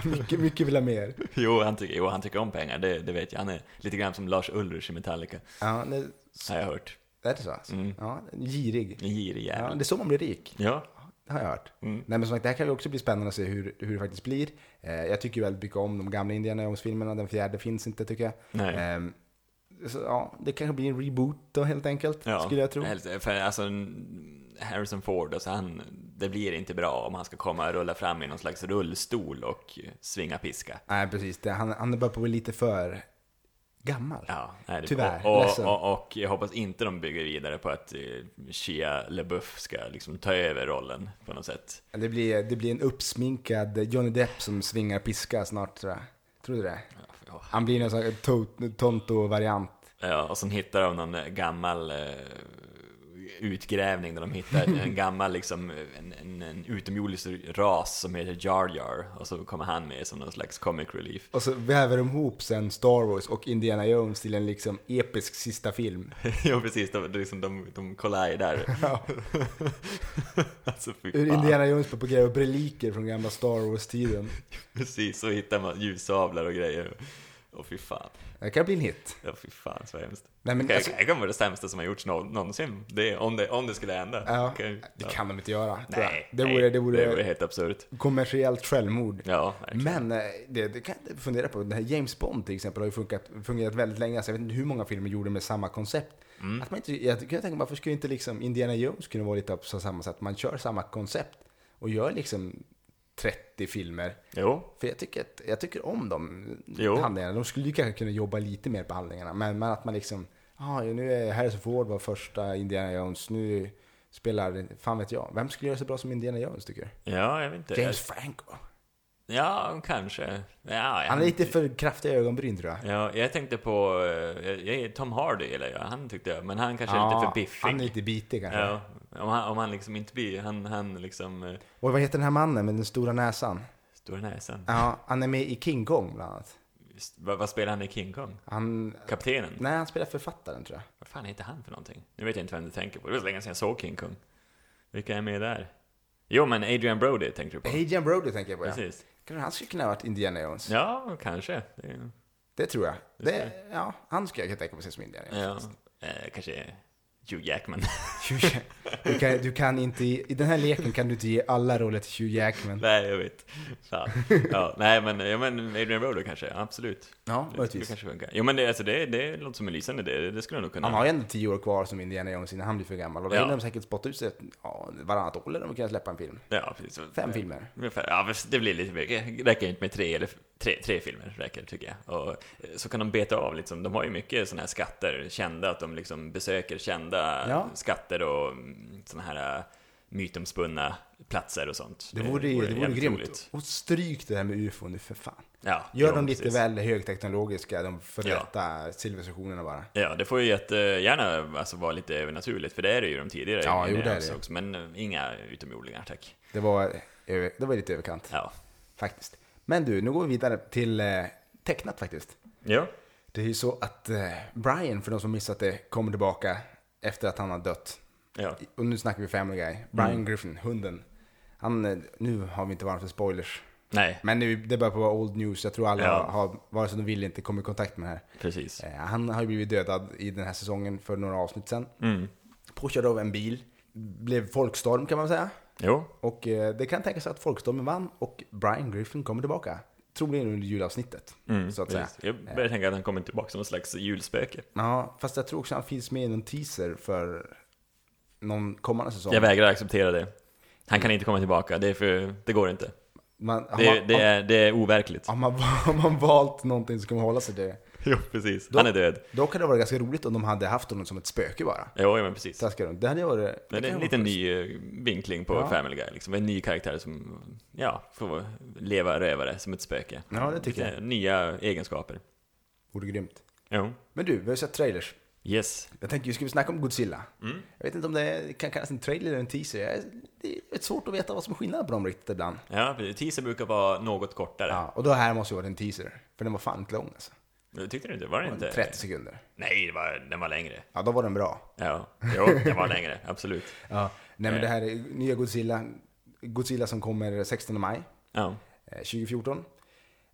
S2: mycket, mycket vill ha mer.
S1: Jo, han tycker, jo, han tycker om pengar, det, det vet jag. Han är lite grann som Lars Ulrich i Metallica,
S2: Ja, det, så,
S1: har jag hört.
S2: är det så? alltså?
S1: Mm.
S2: Ja, girig.
S1: En girig
S2: Ja,
S1: jävel.
S2: det är så man blir rik.
S1: Ja,
S2: Det har jag hört.
S1: Mm.
S2: Nej, men som sagt, det här kan ju också bli spännande att se hur, hur det faktiskt blir. Eh, jag tycker ju väldigt mycket om de gamla Indiana Jones-filmerna. Den fjärde finns inte tycker jag.
S1: Nej.
S2: Ehm, så, ja, det kanske blir en reboot då helt enkelt,
S1: ja.
S2: skulle jag tro.
S1: Helt- För alltså, n- Harrison Ford, alltså han, det blir inte bra om han ska komma och rulla fram i någon slags rullstol och eh, svinga piska.
S2: Nej, precis. Det, han, han är bara på att bli lite för gammal.
S1: Ja, nej, det,
S2: Tyvärr,
S1: och, och,
S2: ledsen.
S1: och, och jag hoppas inte de bygger vidare på att eh, Shia LaBeouf ska liksom ta över rollen på något sätt.
S2: Det blir, det blir en uppsminkad Johnny Depp som svingar piska snart tror jag. Tror du det?
S1: Ja,
S2: Han blir någon sån här to- Tonto-variant.
S1: Ja, och sen hittar de någon eh, gammal eh, utgrävning där de hittar en gammal liksom, eh, en, en, en utomjordisk ras som heter Jar Jar och så kommer han med som någon slags comic relief.
S2: Och så väver de ihop sen Star Wars och Indiana Jones till en liksom episk sista film.
S1: ja, precis, de, de, liksom, de, de kollidar.
S2: Ja.
S1: alltså, fy
S2: Hur
S1: fan.
S2: Indiana Jones på gräva upp reliker från gamla Star Wars-tiden.
S1: Precis, så hittar man ljussablar och grejer. Och fy fan,
S2: Det kan bli en hit.
S1: ja, fy fan så hemskt.
S2: Nej, men
S1: det kan,
S2: alltså-
S1: det kan vara det sämsta som har gjorts nå- någonsin, det, om, det, om det skulle hända.
S2: Ja,
S1: Okej,
S2: det
S1: ja.
S2: kan de inte göra. tror jag.
S1: Nej,
S2: det
S1: nej,
S2: vore, det vore,
S1: det vore helt absurt.
S2: kommersiellt självmord.
S1: Ja, verkligen.
S2: Men eh, det, det kan jag inte fundera på. Den här James Bond till exempel har ju funkat, fungerat väldigt länge. Så jag vet inte hur många filmer gjorde med samma koncept.
S1: Mm.
S2: Att man inte, jag kan tänka mig, varför skulle inte liksom Indiana Jones kunna vara lite på samma sätt? Man kör samma koncept och gör liksom 30 filmer.
S1: Jo,
S2: För jag tycker, att, jag tycker om de
S1: Jo.
S2: handlingarna. De skulle ju kanske kunna jobba lite mer på handlingarna. Men, men att man liksom, ah, nu är Harrison Ford var första Indiana Jones. Nu spelar, fan vet jag. Vem skulle göra så bra som Indiana Jones tycker du?
S1: ja, jag vet inte.
S2: James Franco.
S1: Ja, kanske. Ja, jag,
S2: Han är lite för kraftiga ögonbryn tror jag.
S1: ja, jag tänkte på eh, jag, jag, Tom Hardy, eller jag, han tyckte jag, men han kanske är lite
S2: Ja,
S1: för biffig.
S2: Han är lite bitig kanske.
S1: ja, om, han, om han liksom inte blir, han, han liksom, eh,
S2: Och vad heter den här mannen med den stora näsan?
S1: stora näsan.
S2: Ja, han är med i King Kong bland annat.
S1: Just, Vad, vad spelar han i King Kong?
S2: Han,
S1: Kaptenen?
S2: nej, han spelar författaren tror jag.
S1: Vad fan heter han för någonting? Nu vet jag inte vem du tänker på, det var så länge sedan jag såg King Kong. Vilka är med där? Jo, men Adrian Brody tänkte du på.
S2: Adrian Brody tänker jag på ja.
S1: Precis.
S2: Kanske Han skulle kunna ha varit Indiana Jones.
S1: Ja, kanske. Det är-
S2: Det tror jag. Det, ja, han skulle jag kunna tänka mig som Indiana Jones.
S1: Ja, eh, kanske Hugh Jackman.
S2: Du kan, du kan inte, i den här leken kan du inte ge alla roller till Hugh Jackman.
S1: Nej, jag vet. Fan. Ja, nej, men, ja, men Adrian Brody kanske, ja, absolut.
S2: Ja,
S1: Det skulle
S2: möjligtvis.
S1: kanske funka. Jo, men det, alltså, det, det låter som en lysande idé, det, det skulle jag nog kunna.
S2: Han har ju ändå tio år kvar som Indiana Jones innan han blir för gammal. Och då
S1: Ja.
S2: hinner de säkert spotta ut sig ja, varannat år eller de kan släppa en film.
S1: Ja, precis.
S2: Fem filmer.
S1: Ungefär. Ja, fast det blir lite mycket. Räcker inte med tre, eller f- tre, tre filmer, räcker det, tycker jag. Och eh, så kan de beta av, liksom. de har ju mycket sådana här skatter, kända, att de liksom besöker kända
S2: Ja.
S1: skatter och sådana här eh, mytomspunna platser och sånt.
S2: Det vore, det vore
S1: jävligt
S2: grymt.
S1: roligt.
S2: Och stryk det här med UFO nu för fan.
S1: Ja,
S2: Gör
S1: jo,
S2: dem lite
S1: precis.
S2: väl högteknologiska, de
S1: Ja.
S2: förrätta civilisationerna bara.
S1: Ja, det får ju jättegärna alltså, vara lite övernaturligt, för det är det ju de tidigare.
S2: Ja, jo,
S1: grejerna
S2: det är
S1: också,
S2: det.
S1: också, Men eh, inga utomjordingar, tack.
S2: Det var, över- det var lite överkant
S1: Ja.
S2: faktiskt. Men du, nu går vi vidare till eh, tecknat faktiskt.
S1: Ja.
S2: Det är ju så att eh, Brian, för de som missat det, kommer tillbaka efter att han har dött.
S1: Ja. Mm.
S2: Och nu snackar vi Family Guy. Brian Griffin, hunden. Han, eh, nu har vi inte varmt för spoilers.
S1: Nej,
S2: Men nu, det börjar på vara old news. Jag tror alla
S1: Ja.
S2: har, vare sig de vill eller inte, kommit i kontakt med det här.
S1: precis.
S2: Eh, Han har ju blivit dödad i den här säsongen för några avsnitt sedan.
S1: Mm.
S2: Påkörd av en bil. Blev folkstorm kan man säga.
S1: Jo,
S2: Och eh, det kan tänkas att folkstormen vann och Brian Griffin kommer tillbaka. Troligen under julavsnittet.
S1: mm,
S2: så att säga.
S1: precis. Jag börjar tänka att han kommer tillbaka som en slags julspöke.
S2: Ja, fast jag tror också han finns med i någon teaser för någon kommande säsong.
S1: Jag vägrar acceptera det. Han kan inte komma tillbaka, det, är för, det går inte.
S2: Man, har,
S1: Det,
S2: man,
S1: det, är, det är overkligt.
S2: har, man, har man valt någonting så kan man hålla sig till det.
S1: Jo, precis. Han är död.
S2: Då kan det vara ganska roligt om de hade haft honom som ett spöke bara.
S1: Jo, ja, men precis.
S2: Traskar runt. Det hade ju varit...
S1: Men det är en
S2: kan
S1: liten
S2: vara-
S1: ny eh, vinkling på
S2: Ja.
S1: Family Guy, liksom. En ny karaktär som, ja, får leva rövare som ett spöke.
S2: Ja, det tycker
S1: Lite Nya egenskaper.
S2: Vore grymt.
S1: Jo.
S2: Men du, vi har sett trailers.
S1: Yes.
S2: Jag tänkte, ska vi snacka om Godzilla?
S1: Mm.
S2: Jag vet inte om det kan kallas en trailer eller en teaser. Jag är- Det är rätt svårt att veta vad som är skillnaden på dem riktigt ibland.
S1: Ja, precis. teaser brukar vara något kortare.
S2: Ja, och då här måste ju vara en teaser. För den var fan inte lång alltså.
S1: Tyckte du inte? Var det inte?
S2: 30 sekunder.
S1: Nej, det var, den var längre.
S2: Ja, då var den bra.
S1: Ja, jo, den var längre. Absolut.
S2: Ja. Nej men det här är nya Godzilla. Godzilla som kommer 16 maj
S1: Ja.
S2: eh, 2014.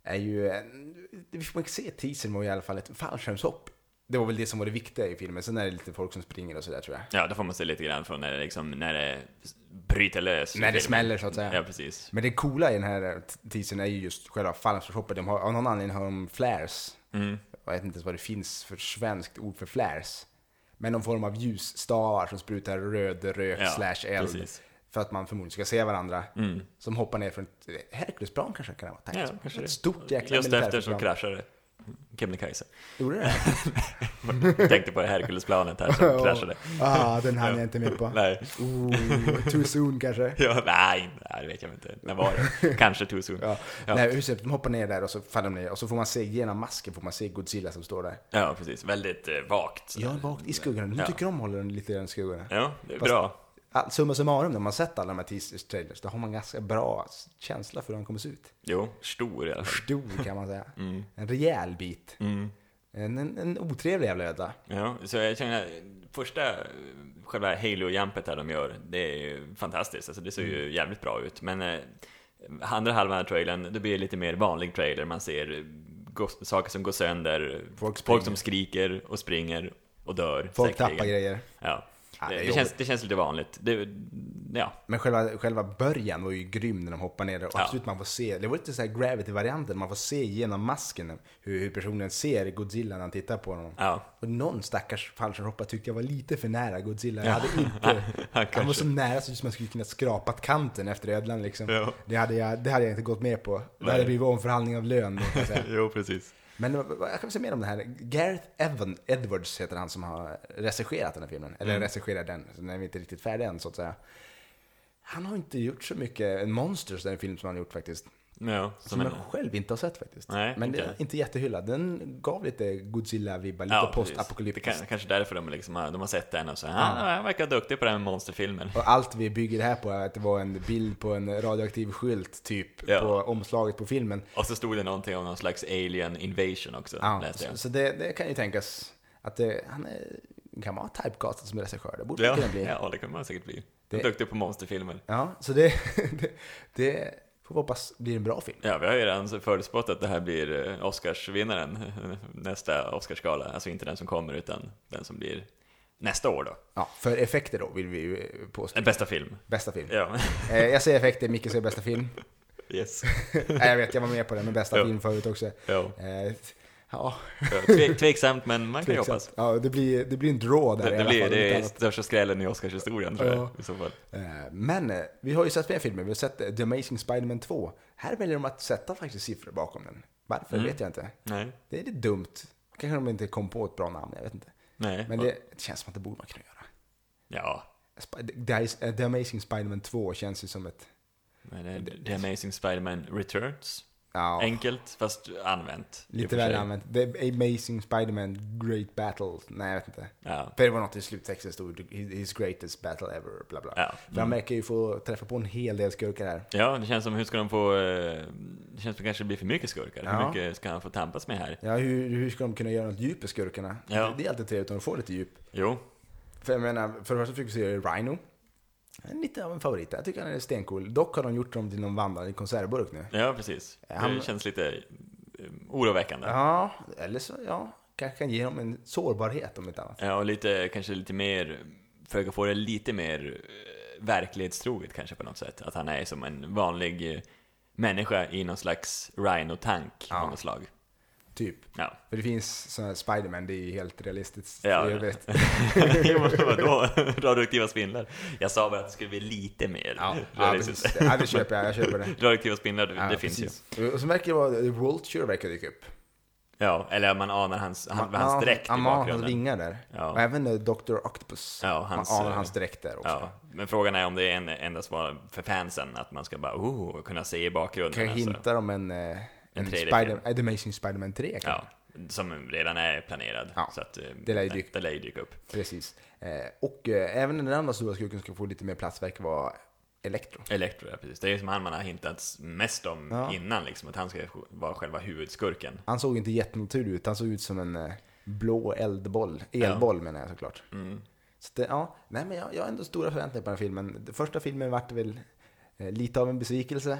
S2: Är ju... en- Vi får inte se teasern var i alla fall ett fallskärmshopp. Det var väl det som var det viktiga i filmen. Sen är det lite folk som springer och sådär tror jag.
S1: ja, då får man se lite grann från när det, liksom, när det bryter lös.
S2: När det smäller, så att säga.
S1: Ja, precis.
S2: Men det coola i den här teasern är ju just själva fallskärmshoppet. De har, av någon anledning har de flares.
S1: Mm.
S2: Jag vet inte ens vad det finns för svenskt ord för flares. Men någon form av ljusstavar som sprutar röd rök
S1: Ja,
S2: slash eld.
S1: precis. Mm.
S2: För att man förmodligen ska se varandra. Som hoppar ner från ett Herculesplan kanske kan det vara.
S1: Ja,
S2: tänkt som.
S1: kanske det.
S2: ett stort jäkla
S1: Just efter så
S2: militärflygplan.
S1: kraschar det. Kebnekaise.
S2: Gjorde det?
S1: Jag tänkte på Herkulesplanet här som kraschade.
S2: ah, den hann jag inte med på.
S1: Nej.
S2: Ooh, too soon kanske.
S1: Ja, nej, nej, det vet jag inte. När var det? Kanske too soon.
S2: Ja.
S1: Ja, ja.
S2: Nej, just det, de hoppar ner där och så faller de ner. Och så får man se genom masken, får man se Godzilla som står där.
S1: precis. Väldigt eh, vagt.
S2: Ja, bak i skuggorna. De
S1: Ja.
S2: tycker om håller den lite i den skuggorna.
S1: Ja, det är
S2: Fast-
S1: bra.
S2: All, summa summarum, när man sett alla de här teasers trailers, då har man ganska bra känsla för hur den kommer se ut.
S1: Jo, stor i alla fall.
S2: Stor kan man säga.
S1: Mm.
S2: En rejäl bit. En, en, en otrevlig jävla ödla.
S1: Ja, så jag känner att första eh, själva Halo-jumpet där de gör, det är ju fantastiskt. Alltså det ser
S2: Mm.
S1: ju jävligt bra ut. Men eh, andra halvan av trailern, det blir lite mer vanlig trailer. Man ser eh, go- saker som går sönder,
S2: Folk
S1: folk,
S2: springer.
S1: som skriker och springer och dör.
S2: Folk
S1: säkerligen.
S2: tappar grejer.
S1: Ja.
S2: Ja, det är
S1: det, det,
S2: jobbigt.
S1: känns, det känns lite vanligt. Det, ja,
S2: Men själva, själva början var ju grym när de hoppar ner. Och
S1: Ja.
S2: absolut, man får se. Det var lite så här gravity-varianten. Man får se genom masken hur, hur personen ser Godzilla när han tittar på honom.
S1: ja.
S2: Och någon stackars fallskärmshoppare tyckte jag var lite för nära Godzilla. Jag hade inte... Han var så nära så att man skulle kunna skrapat kanten efter ödlan liksom.
S1: Ja.
S2: Det, hade jag, det hade jag inte gått med på. Det hade
S1: Nej.
S2: blivit omförhandling av lön. kan jag säga.
S1: Jo, precis.
S2: Men vad- vad- jag kan väl säga mer om det här. Gareth Evan, Edwards heter han som har regisserat den här filmen. Eller
S1: Mm.
S2: regisserat den, så den är inte riktigt färdig än så att säga. Han har inte gjort så mycket. Monsters är en film som han har gjort faktiskt.
S1: Ja,
S2: Som
S1: som en,
S2: jag själv inte har sett faktiskt.
S1: Nej,
S2: Men det
S1: okej.
S2: är inte jättehyllad. Den gav lite Godzilla-vibbar, lite
S1: ja, precis.
S2: postapokalyptiskt.
S1: Det kan, kanske därför de, liksom, har- de har sett den och så, ah, han verkar duktig på den här monsterfilmen.
S2: Och allt vi bygger det här på är att det var en bild på en radioaktiv skylt typ
S1: Ja.
S2: på omslaget på filmen.
S1: Och så stod det någonting om någon slags alien invasion också,
S2: Ja,
S1: läste
S2: så
S1: jag.
S2: så det, det kan ju tänkas att det, han är, kan vara typecastad som regissör. Det borde
S1: Ja,
S2: kunna bli. Ja.
S1: ja, det kan man säkert bli.
S2: Det-
S1: Duktig på monsterfilmer.
S2: så det, det, det får vi hoppas blir en bra film.
S1: Ja, vi har ju redan förutspått att det här blir eh, Oscarsvinnaren, nästa Oscarsgala. Alltså inte den som kommer, utan den som blir nästa år då.
S2: Ja, för effekter då vill vi ju eh, påstå.
S1: Den bästa film.
S2: Bästa film.
S1: Ja,
S2: Eh, jag säger effekter, Micke säger bästa film.
S1: yes.
S2: Nej, jag vet, jag var med på det med bästa
S1: Ja.
S2: film förut också.
S1: Ja.
S2: Eh, ja,
S1: Tve, tveksamt, men man kan ju hoppas.
S2: tveksamt. ja, det, blir, det blir en draw
S1: Det,
S2: där i
S1: det,
S2: alla
S1: blir,
S2: fall. om
S1: det
S2: inte
S1: är
S2: annat.
S1: största skrällen i Oscarshistorien tror
S2: Ja.
S1: jag i så fall.
S2: Eh, Men eh, vi har ju sett fler filmer. Vi har sett eh, The Amazing Spider-Man 2. Här väljer de att sätta faktiskt siffror bakom den. Varför
S1: Mm.
S2: vet jag inte.
S1: Nej.
S2: Det är lite dumt. Kanske de inte kom på ett bra namn, jag vet inte.
S1: Nej.
S2: Men det, det känns som att det borde man kunna göra.
S1: Ja.
S2: Sp- The- eh, The Amazing Spider-Man 2 känns ju som ett...
S1: Men eh, The Amazing Spider-Man Returns.
S2: Ja,
S1: Enkelt, fast använt. i och
S2: lite
S1: för sig.
S2: väl använt. The Amazing Spider-Man Great Battle. Nej, jag vet inte.
S1: Ja.
S2: För det var något i sluttexten stod His greatest battle ever, bla bla.
S1: Ja.
S2: För han verkar ju få träffa på en hel del skurkar här.
S1: ja, det känns som, hur ska de få... eh, Det känns som det kanske blir för mycket skurkar. Hur
S2: Ja.
S1: mycket ska han få tampas med här?
S2: Ja, hur, hur ska de kunna göra något djup i skurkarna?
S1: Ja.
S2: Det, det är alltid trevligt om de får lite djup.
S1: Jo.
S2: För jag menar, för det första fick vi se Rhino. Lite av en favorit. Jag tycker han är stencool. Dock har de gjort dem till någon vandrande konservburk nu.
S1: Ja, precis.
S2: Han-
S1: Det känns lite eh, oroväckande. Ja.
S2: Ja, eller så, ja. Kanske kan ge dem en sårbarhet om inte annat.
S1: och lite, kanske lite mer, försöka få det lite mer eh, verklighetstroget kanske på något sätt. Att han är som en vanlig eh, människa i någon slags rhino-tank
S2: Ja.
S1: av något slag.
S2: Typ.
S1: Ja.
S2: För det finns sådana här Spiderman, det är ju helt realistiskt.
S1: Ja,
S2: jag vet.
S1: Jo, men Vadå? Radioaktiva spindlar? Jag sa bara att det skulle bli lite mer
S2: Ja, ja,
S1: realistiskt.
S2: precis. ja, det köper jag. Jag köper det.
S1: Radioaktiva spindlar, det,
S2: Ja,
S1: det finns ju.
S2: ju. Och så verkar det vara, eh, Vulture verkar dyka upp.
S1: Ja, eller man anar hans, han, hans dräkt i
S2: man, hans
S1: bakgrunden.
S2: vingar där.
S1: Ja.
S2: Och även eh, Dr. Octopus.
S1: Ja, hans,
S2: man anar
S1: eh,
S2: hans dräkt där också.
S1: Ja, men frågan är om det är en, endast var för fansen, att man ska bara oh, kunna se i bakgrunden.
S2: Kan jag
S1: alltså.
S2: hinta om en, eh, en
S1: tredje
S2: Spider, eh, The Amazing Spider-Man 3 kanske?
S1: Ja, som redan är planerad.
S2: Ja,
S1: Så att, eh,
S2: det lär ju
S1: nej,
S2: dyka-
S1: det lär ju dyka upp.
S2: Precis. Eh, och eh, även den andra stora skurken som ska få lite mer plats verkar vara Electro.
S1: Elektro, ja, precis. Det är ju som han man har hintat mest om
S2: Ja.
S1: innan, liksom, att han ska vara själva huvudskurken.
S2: Han såg inte jättenaturlig ut, han såg ut som en eh, blå eldboll. Elboll menar jag såklart.
S1: Mm.
S2: Så det, ja, nej men jag, jag har ändå stora förväntningar på den här filmen. Den första filmen vart väl eh, lite av en besvikelse.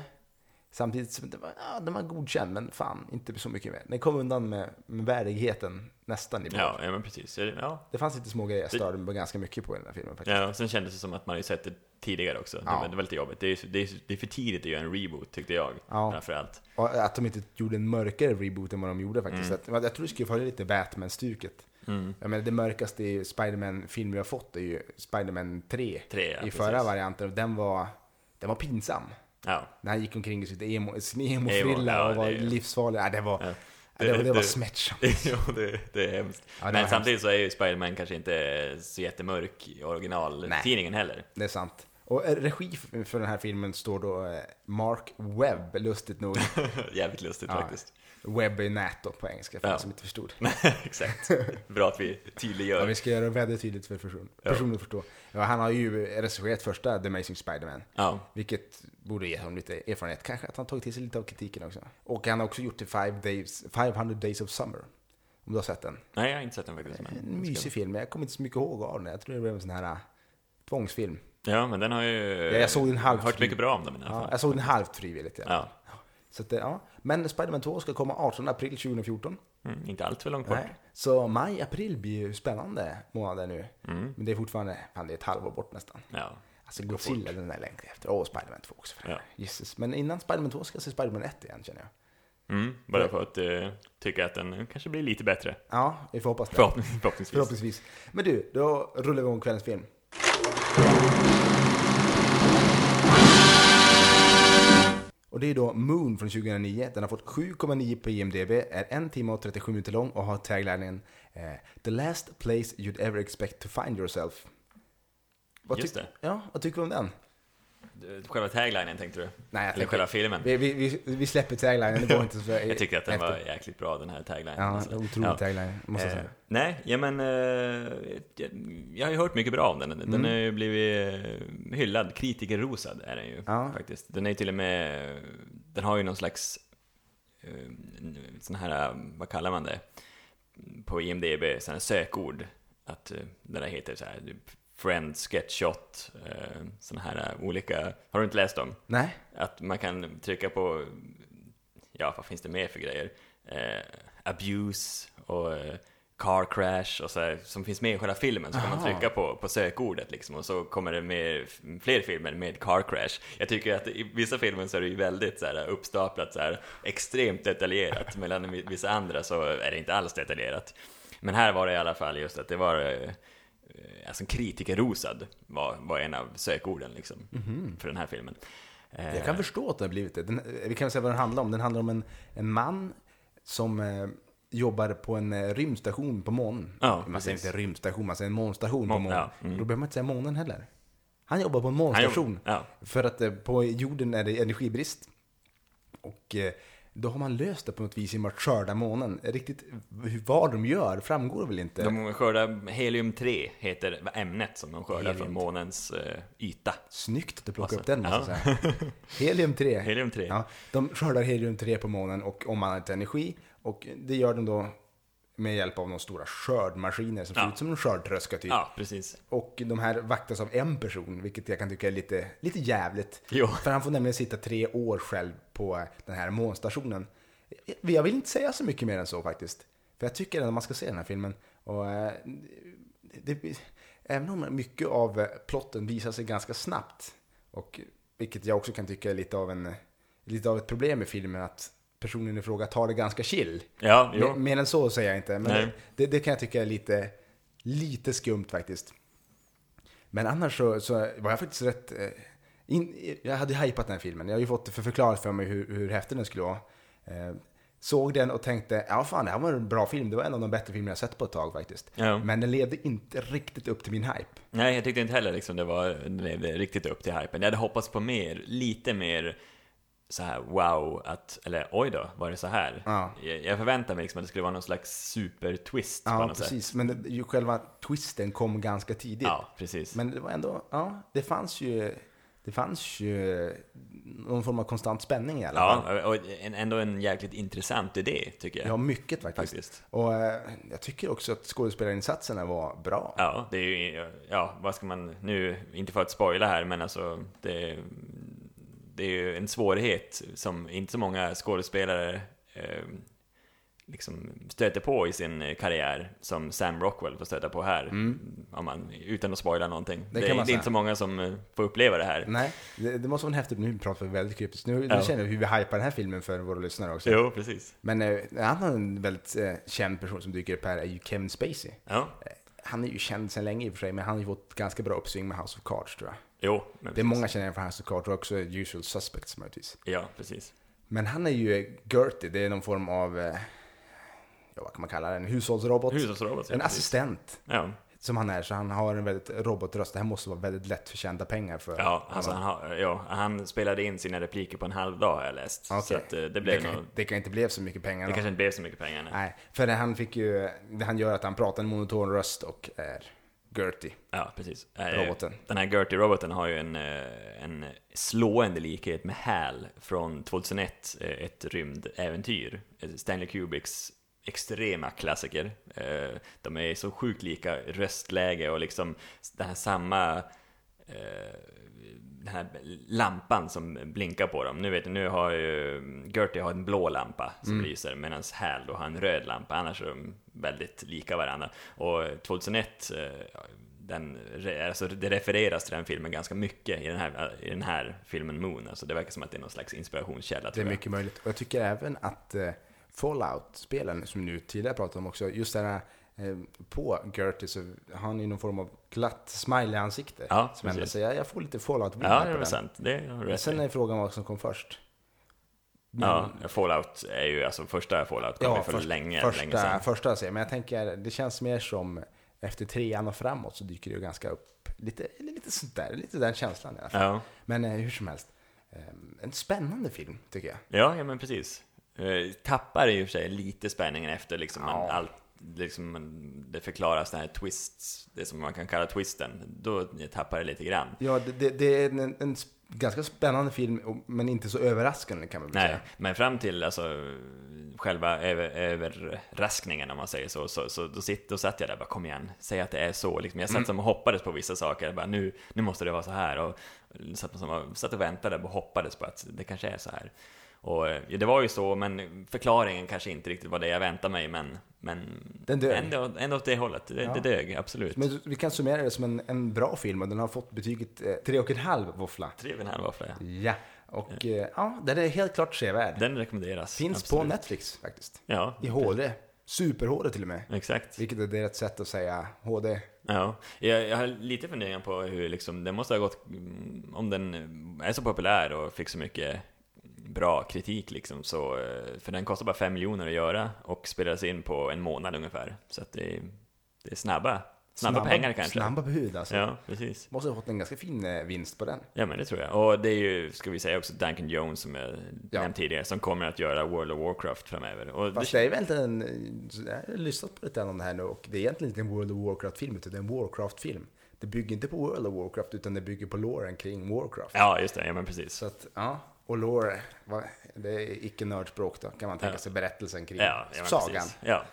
S2: Samtidigt som det var, ja, den var godkänd, men fan inte så mycket mer. Den kom undan med, med värdigheten nästan i mål.
S1: Ja, ja men precis. Ja,
S2: Det fanns lite små grejer jag störde mig på ganska mycket på i den här filmen faktiskt.
S1: Ja, och sen kändes det som att man har ju sett det tidigare också. Det,
S2: Ja.
S1: var, det var lite jobbigt. Det är, det, är, det är för tidigt att göra en reboot, tyckte jag.
S2: Ja.
S1: Framförallt.
S2: Och att de inte gjorde en mörkare reboot än vad de gjorde faktiskt.
S1: Mm.
S2: Att, jag tror det skulle följa lite Batman-stuket. Jag menar, det mörkaste i Spiderman-film vi har fått är ju Spiderman 3.
S1: Tre, ja,
S2: I
S1: precis.
S2: förra varianten. Och den var, den var pinsam.
S1: Ja.
S2: När han gick omkring i sitt emo, sin
S1: Emo,
S2: emo-frilla
S1: ja,
S2: och var
S1: det är-
S2: livsfarlig. Ja, det var, ja. Det, var, det, var smärtsamt.
S1: jo, det, det är hemskt.
S2: Ja, det var
S1: Men samtidigt så är ju Spider-Man kanske inte så jättemörk i originaltidningen heller.
S2: Det är sant. Och eh, regi f- för den här filmen står då eh, Mark Webb, lustigt nog.
S1: Jävligt lustigt
S2: Ja.
S1: faktiskt.
S2: Webb är nät då på engelska, för
S1: Ja.
S2: den som inte förstod.
S1: Exakt. Bra att vi
S2: Ja,
S1: tydliggör.
S2: vi ska göra det väldigt tydligt för person, personen att förstå. Ja, han har ju recenserat första The Amazing Spider-Man.
S1: Ja.
S2: Vilket borde ge honom lite erfarenhet. Kanske att han tagit till sig lite av kritiken också. Och han har också gjort det Five Days, 500 Days of Summer. Om du har sett den.
S1: Nej, jag har inte sett den faktiskt. Men...
S2: En mysig film, men jag kommer inte så mycket ihåg av den. Jag tror det blev en sån här äh, tvångsfilm.
S1: Ja, men den Eh, har ju...
S2: Ja, jag såg den halvt
S1: Hört mycket bra om den i alla
S2: Ja,
S1: fall.
S2: jag såg den halvt frivilligt. Ja.
S1: Ja.
S2: Så att, det- ja. Men Spider-Man 2 ska komma 18 april 2014.
S1: Mm, inte allt för långt bort.
S2: Nej. Så maj, april blir ju spännande månader nu.
S1: Mm.
S2: Men det är fortfarande, fan det är ett halvår bort nästan.
S1: Ja.
S2: Alltså Godzilla den där längtar jag efter. Och Spiderman 2 också. För
S1: Ja.
S2: Jesus. Men innan Spiderman 2 ska jag se Spiderman 1 igen känner jag.
S1: Mm, bara för att eh, tycka att den kanske blir lite bättre.
S2: Ja, vi får hoppas det.
S1: Förhoppnings- Förhoppningsvis.
S2: Förhoppningsvis. Men du, då rullar vi igång kvällens film. Och det är då Moon från 2009. Den har fått 7,9 på IMDB, är en timme och 37 minuter lång och har taglinen eh, “The last place you'd ever expect to find yourself”. Vad
S1: Just
S2: tyck-
S1: det.
S2: Ja, vad tycker du om den?
S1: Eh, Själva taglinen tänkte du?
S2: Nej, jag
S1: Eller
S2: tänker-
S1: själva filmen?
S2: Vi, vi, vi, vi släpper taglinen, det går inte så...
S1: Jag tyckte att den var jäkligt bra den här taglinen.
S2: Ja,
S1: alltså.
S2: otrolig
S1: Ja.
S2: tagline, måste jag
S1: Eh,
S2: säga.
S1: nej, ja men eh, jag, jag har ju hört mycket bra om den. Den
S2: Mm.
S1: har ju blivit eh, hyllad, kritikerrosad är den ju
S2: Ja.
S1: faktiskt. Den är ju till och med, den har ju någon slags, eh, sån här, eh, vad kallar man det, på IMDB, sån här sökord. Att eh, den där heter så här, typ friend, sketchshot, eh, såna här eh, olika, har du inte läst dem?
S2: Nej?
S1: Att man kan trycka på, ja vad finns det mer för grejer? Eh, abuse och eh, car crash och så här, som finns med i själva filmen så kan man
S2: Aha.
S1: trycka på, på sökordet liksom och så kommer det med fler filmer med car crash. Jag tycker att i vissa filmer så är det ju väldigt så här, uppstaplat så här, extremt detaljerat mellan vi- vissa andra så är det inte alls detaljerat. Men här var det i alla fall just att det var eh, eh, alltså kritikerrosad var, var en av sökorden liksom för den här filmen. Eh,
S2: Jag kan förstå att Mhm. det har blivit det. Den, eh, vi kan väl säga vad den handlar om. Den handlar om en, en man som eh, jobbar på en eh, rymdstation på månen.
S1: Ja,
S2: man
S1: precis.
S2: säger inte rymdstation, man säger en månstation på
S1: Mån,
S2: månen.
S1: ja, mm.
S2: Då behöver man inte säga månen heller. Han jobbar på en
S1: Han
S2: månstation.
S1: gjorde- ja.
S2: För att eh, på jorden är det energibrist. Och eh, då har man löst det på något vis genom att skörda månen. Riktigt hur- vad de gör framgår väl inte.
S1: De skördar helium-3, heter ämnet som de skördar
S2: Helium.
S1: från månens eh, yta.
S2: Snyggt att du plockade upp
S1: Alltså,
S2: den måste jag säga. Helium 3.
S1: Helium-3.
S2: Ja, de skördar helium 3 på månen och omvandlar till energi. Och det gör de då med hjälp av några stora skördmaskiner som ser
S1: Ja.
S2: ut som en skördtröska typ.
S1: Ja, precis.
S2: Och de här vaktas av en person, vilket jag kan tycka är lite, lite jävligt.
S1: Jo.
S2: För han får nämligen sitta tre år själv på den här månstationen. Jag vill inte säga så mycket mer än så faktiskt. För jag tycker ändå man ska se den här filmen. Och, eh, det, även om mycket av eh, plotten visar sig ganska snabbt, och, vilket jag också kan tycka är lite av, en, lite av ett problem med filmen, att personen i fråga tar det ganska chill.
S1: Ja,
S2: Mer,
S1: jo.
S2: mer än så säger jag inte, men
S1: Nej.
S2: det, det kan jag tycka är lite, lite skumt faktiskt. Men annars så, så var jag faktiskt rätt... eh, In, jag hade hypat den här filmen. Jag har ju fått det för förklarat för mig hur, hur häftig den skulle vara. Eh, såg den och tänkte, ja fan det här var en bra film. Det var en av de bättre filmer jag sett på ett tag faktiskt.
S1: Ja.
S2: Men den levde inte riktigt upp till min hype.
S1: Nej, jag tyckte inte heller liksom det var det levde riktigt upp till hypen. Jag hade hoppats på mer, lite mer så här wow, att, eller oj då, var det så här?
S2: Ja.
S1: Jag, jag förväntade mig liksom att det skulle vara någon slags super-twist på
S2: Ja,
S1: något sätt.
S2: precis. Men det, ju själva twisten kom ganska tidigt.
S1: Ja, precis.
S2: Men det var ändå, ja, det fanns ju... Det fanns ju någon form av konstant spänning i alla fall.
S1: Ja, och en, ändå en jäkligt intressant idé, tycker jag.
S2: Ja, mycket faktiskt.
S1: Faktiskt.
S2: Och eh, jag tycker också att skådespelarinsatserna var bra.
S1: Ja, det är ju, ja, vad ska man nu, inte för att spoila här, men alltså det, det är ju en svårighet som inte så många skådespelare eh, liksom stöter på i sin eh, karriär som Sam Rockwell får stöta på här, om man, utan att spoila någonting. Det,
S2: Mm. kan
S1: är,
S2: man
S1: det är
S2: säga. Mm.
S1: inte så många som eh, får uppleva det här.
S2: Nej, det, det måste vara en häftig... Nu pratar vi väldigt kryptiskt. Nu, nu
S1: Ja.
S2: känner vi hur vi hypar den här filmen för våra lyssnare också.
S1: Jo, precis.
S2: Men eh, en annan väldigt eh, känd person som dyker upp här är ju Kevin Spacey.
S1: Ja,
S2: Eh, Han är ju känd sedan länge i och för sig, men han har ju fått ganska bra uppsving med House of Cards tror jag.
S1: jo, men
S2: Det är
S1: precis.
S2: många känner igen från House of Cards och också Usual Suspects möjligtvis.
S1: Ja, precis.
S2: Men han är ju eh, Gertie, det är någon form av, eh, ja vad kan man kalla det, en hushållsrobot.
S1: Hushållsrobot, ja,
S2: en
S1: precis.
S2: assistent.
S1: Ja.
S2: som han är, så han har en väldigt robotröst. Det här måste vara väldigt lätt förtjänta pengar för
S1: Ja,
S2: honom.
S1: alltså han, har, ja, han spelade in sina repliker på en halv dag har jag läst.
S2: Okej.
S1: Så att, eh, det blev
S2: kan,
S1: nog...
S2: det kan inte bli så mycket pengar.
S1: Det
S2: då.
S1: kanske inte blev så mycket pengar. Nej.
S2: Nej, för det han fick ju, det han gör är att han pratar en monoton röst och är Gertie.
S1: Ja, precis. Eh,
S2: Roboten.
S1: Den här Gertie-roboten har ju en, eh, en slående likhet med HAL från 2001, eh, ett rymdäventyr. Eh, Stanley Kubricks extrema klassiker. Eh, De är så sjukt lika röstläge och liksom den här samma eh, den här lampan som blinkar på dem. Nu vet du, nu har ju Gertie har en blå lampa som
S2: Mm.
S1: lyser medan Hal då har en röd lampa. Annars är de väldigt lika varandra. Och 2001, eh, den, re- alltså det refereras till den filmen ganska mycket i den här, i den här filmen Moon. Alltså det verkar som att det är någon slags inspirationskälla.
S2: Det är
S1: tror jag.
S2: mycket möjligt. Och jag tycker även att eh, Fallout-spelen, som vi nu tidigare pratade om också, just det här eh, på Gertie så har han ju någon form av glatt smiley ansikte.
S1: Ja,
S2: som ändå
S1: precis.
S2: säger, jag får lite Fallout-vibb
S1: Ja,
S2: här
S1: det är väl
S2: på den.
S1: sant. Det har du
S2: Men
S1: rätt
S2: Sen
S1: i.
S2: är frågan vad som kom först.
S1: Ja, Fallout är ju, alltså första Fallout kom ju för
S2: först-
S1: länge,
S2: första,
S1: länge sedan.
S2: Första serien, men jag tänker, det känns mer som efter trean och framåt så dyker det ju ganska upp lite, eller lite sådär, lite den känslan i alla fall.
S1: Ja.
S2: Men eh, hur som helst, eh, en spännande film tycker jag.
S1: Ja, ja men precis. Eh, Tappar i och för sig lite spänningen efter liksom man,
S2: Ja.
S1: allt, liksom man, det förklaras den här twists, det som man kan kalla twisten. Då tappar det lite grann.
S2: Ja, det, det, det är en, en sp- ganska spännande film, och- men inte så överraskande kan man väl
S1: Nej,
S2: säga.
S1: men fram till alltså, själva över, överraskningen om man säger så, så, så då, sitt, då satt jag där och bara kom igen, säg att det är så. Liksom, jag
S2: Mm.
S1: satt som och hoppades på vissa saker, jag bara, nu, nu måste det vara så här. Och satt, som och, satt och väntade och hoppades på att det kanske är så här. Och eh, ja, det var ju så, men förklaringen kanske inte riktigt var det jag väntade mig, men, men
S2: Den dög.
S1: Ändå, ändå åt det hållet, det,
S2: Ja.
S1: det dög absolut.
S2: Men vi kan summera det som en, en bra film och den har fått betyget eh, 3,5 våffla.
S1: Tre och en halv våffla, ja.
S2: Ja, och eh, ja, den är helt klart sevärd.
S1: Den rekommenderas.
S2: Finns på
S1: absolut.
S2: Netflix faktiskt.
S1: Ja,
S2: I HD. Super-HD till och med.
S1: exakt.
S2: Vilket är deras sätt att säga HD.
S1: Ja, jag, jag har lite funderingar på hur liksom, den måste ha gått, mm, om den är så populär och fick så mycket bra kritik liksom, så, eh, för den kostar bara 5 miljoner att göra och spelades in på en månad ungefär. Så att det, är- det är snabba, snabba, pengar kanske.
S2: Snabba bud alltså.
S1: Ja, precis.
S2: Måste ha fått en ganska fin eh, vinst på den.
S1: Ja men det tror jag. Och det är ju, ska vi säga också, Duncan Jones som jag
S2: Ja.
S1: nämnt tidigare, som kommer att göra World of Warcraft framöver. Och det,
S2: Fast jag är väl inte en... eh, Jag har lyssnat på lite grann om det här nu och det är egentligen inte en World of Warcraft-film utan det är en Warcraft-film. Det bygger inte på World of Warcraft utan det bygger på loren kring Warcraft.
S1: ja, just det, ja men precis.
S2: Så att, ja. Och lore, vad- det är icke-nördspråk då, kan man tänka
S1: Ja.
S2: sig berättelsen kring
S1: Ja, ja, men
S2: sagan.
S1: Precis. Ja.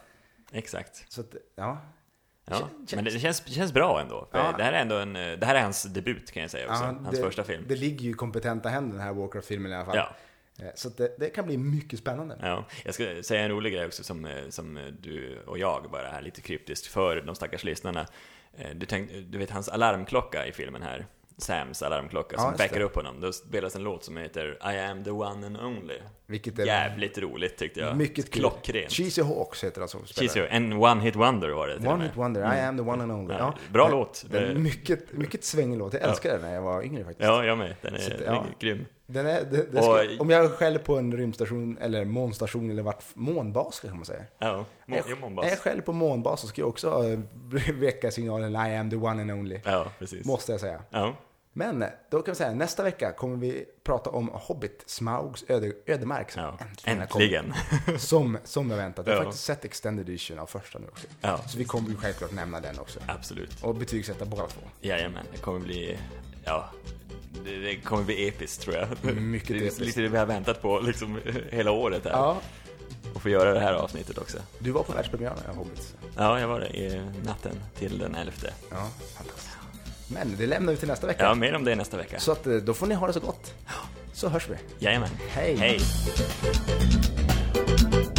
S1: Exakt.
S2: Så att, ja.
S1: Ja.
S2: Kän-
S1: Men det, det känns, det känns bra ändå. För
S2: Ja.
S1: Det här är ändå en, eh, det här är hans debut kan jag säga också.
S2: ja,
S1: hans
S2: det,
S1: första film.
S2: Det ligger ju i kompetenta händer den här Warcraft-filmen i alla fall.
S1: Ja.
S2: Eh, Så att det, det kan bli mycket spännande.
S1: Ja, jag ska säga en rolig grej också som, eh, som eh, du och jag bara här lite kryptiskt för de stackars lyssnarna. Eh, Du, tänk, du vet hans alarmklocka i filmen här, Sams alarmklocka
S2: Ja,
S1: som
S2: just det.
S1: väcker upp honom. Då spelas en låt som heter I am the one and only.
S2: Vilket är
S1: Jävligt roligt tyckte jag.
S2: mycket kul.
S1: Klockrent.
S2: Cheesy Hawks heter han som spelar.
S1: Cheesy, en one hit wonder var det till och
S2: One
S1: med. Mm.
S2: hit wonder, I am the one and only.
S1: Ja, bra låt.
S2: Den är
S1: Det-
S2: mycket, mycket svängig låt. Jag älskade den när jag var yngre faktiskt.
S1: Ja, jag med. Den är,
S2: Så att,
S1: den är
S2: ja.
S1: grym.
S2: Den är, det, det ska,
S1: Och-
S2: om jag skäller på en rymdstation eller månstation eller vart månbas kan man säga.
S1: Ja, må,
S2: Är
S1: jag,
S2: jag, är jag skäller på månbas så ska jag också eh, väcka signalen I am the one and only.
S1: Ja, precis.
S2: Måste jag säga.
S1: Ja,
S2: Men eh, då kan vi säga nästa vecka kommer vi prata om Hobbit, Smaugs öde, ödemark. Som
S1: ja.
S2: äntligen har kommit.
S1: Äntligen.
S2: Som, som jag väntat. Jag har
S1: Ja.
S2: faktiskt sett Extended Edition av första nu också.
S1: Ja,
S2: Så vi kommer ju självklart nämna den också.
S1: absolut.
S2: Och betygsätta båda två.
S1: Jajamän, det kommer bli... Ja, det, det kommer bli episkt tror jag.
S2: Mycket
S1: det är
S2: episkt.
S1: lite det vi har väntat på liksom hela året här.
S2: Ja,
S1: Och få göra det här avsnittet också.
S2: du var på världspremiären av Hobbit.
S1: Ja, jag var det i natten till den 11.
S2: Ja, fantastiskt. Men det lämnar vi till nästa vecka.
S1: Ja, mer om det nästa vecka.
S2: Så att, eh, då får ni ha det så gott. Så hörs vi.
S1: Jajamän.
S2: Hej.
S1: Hej.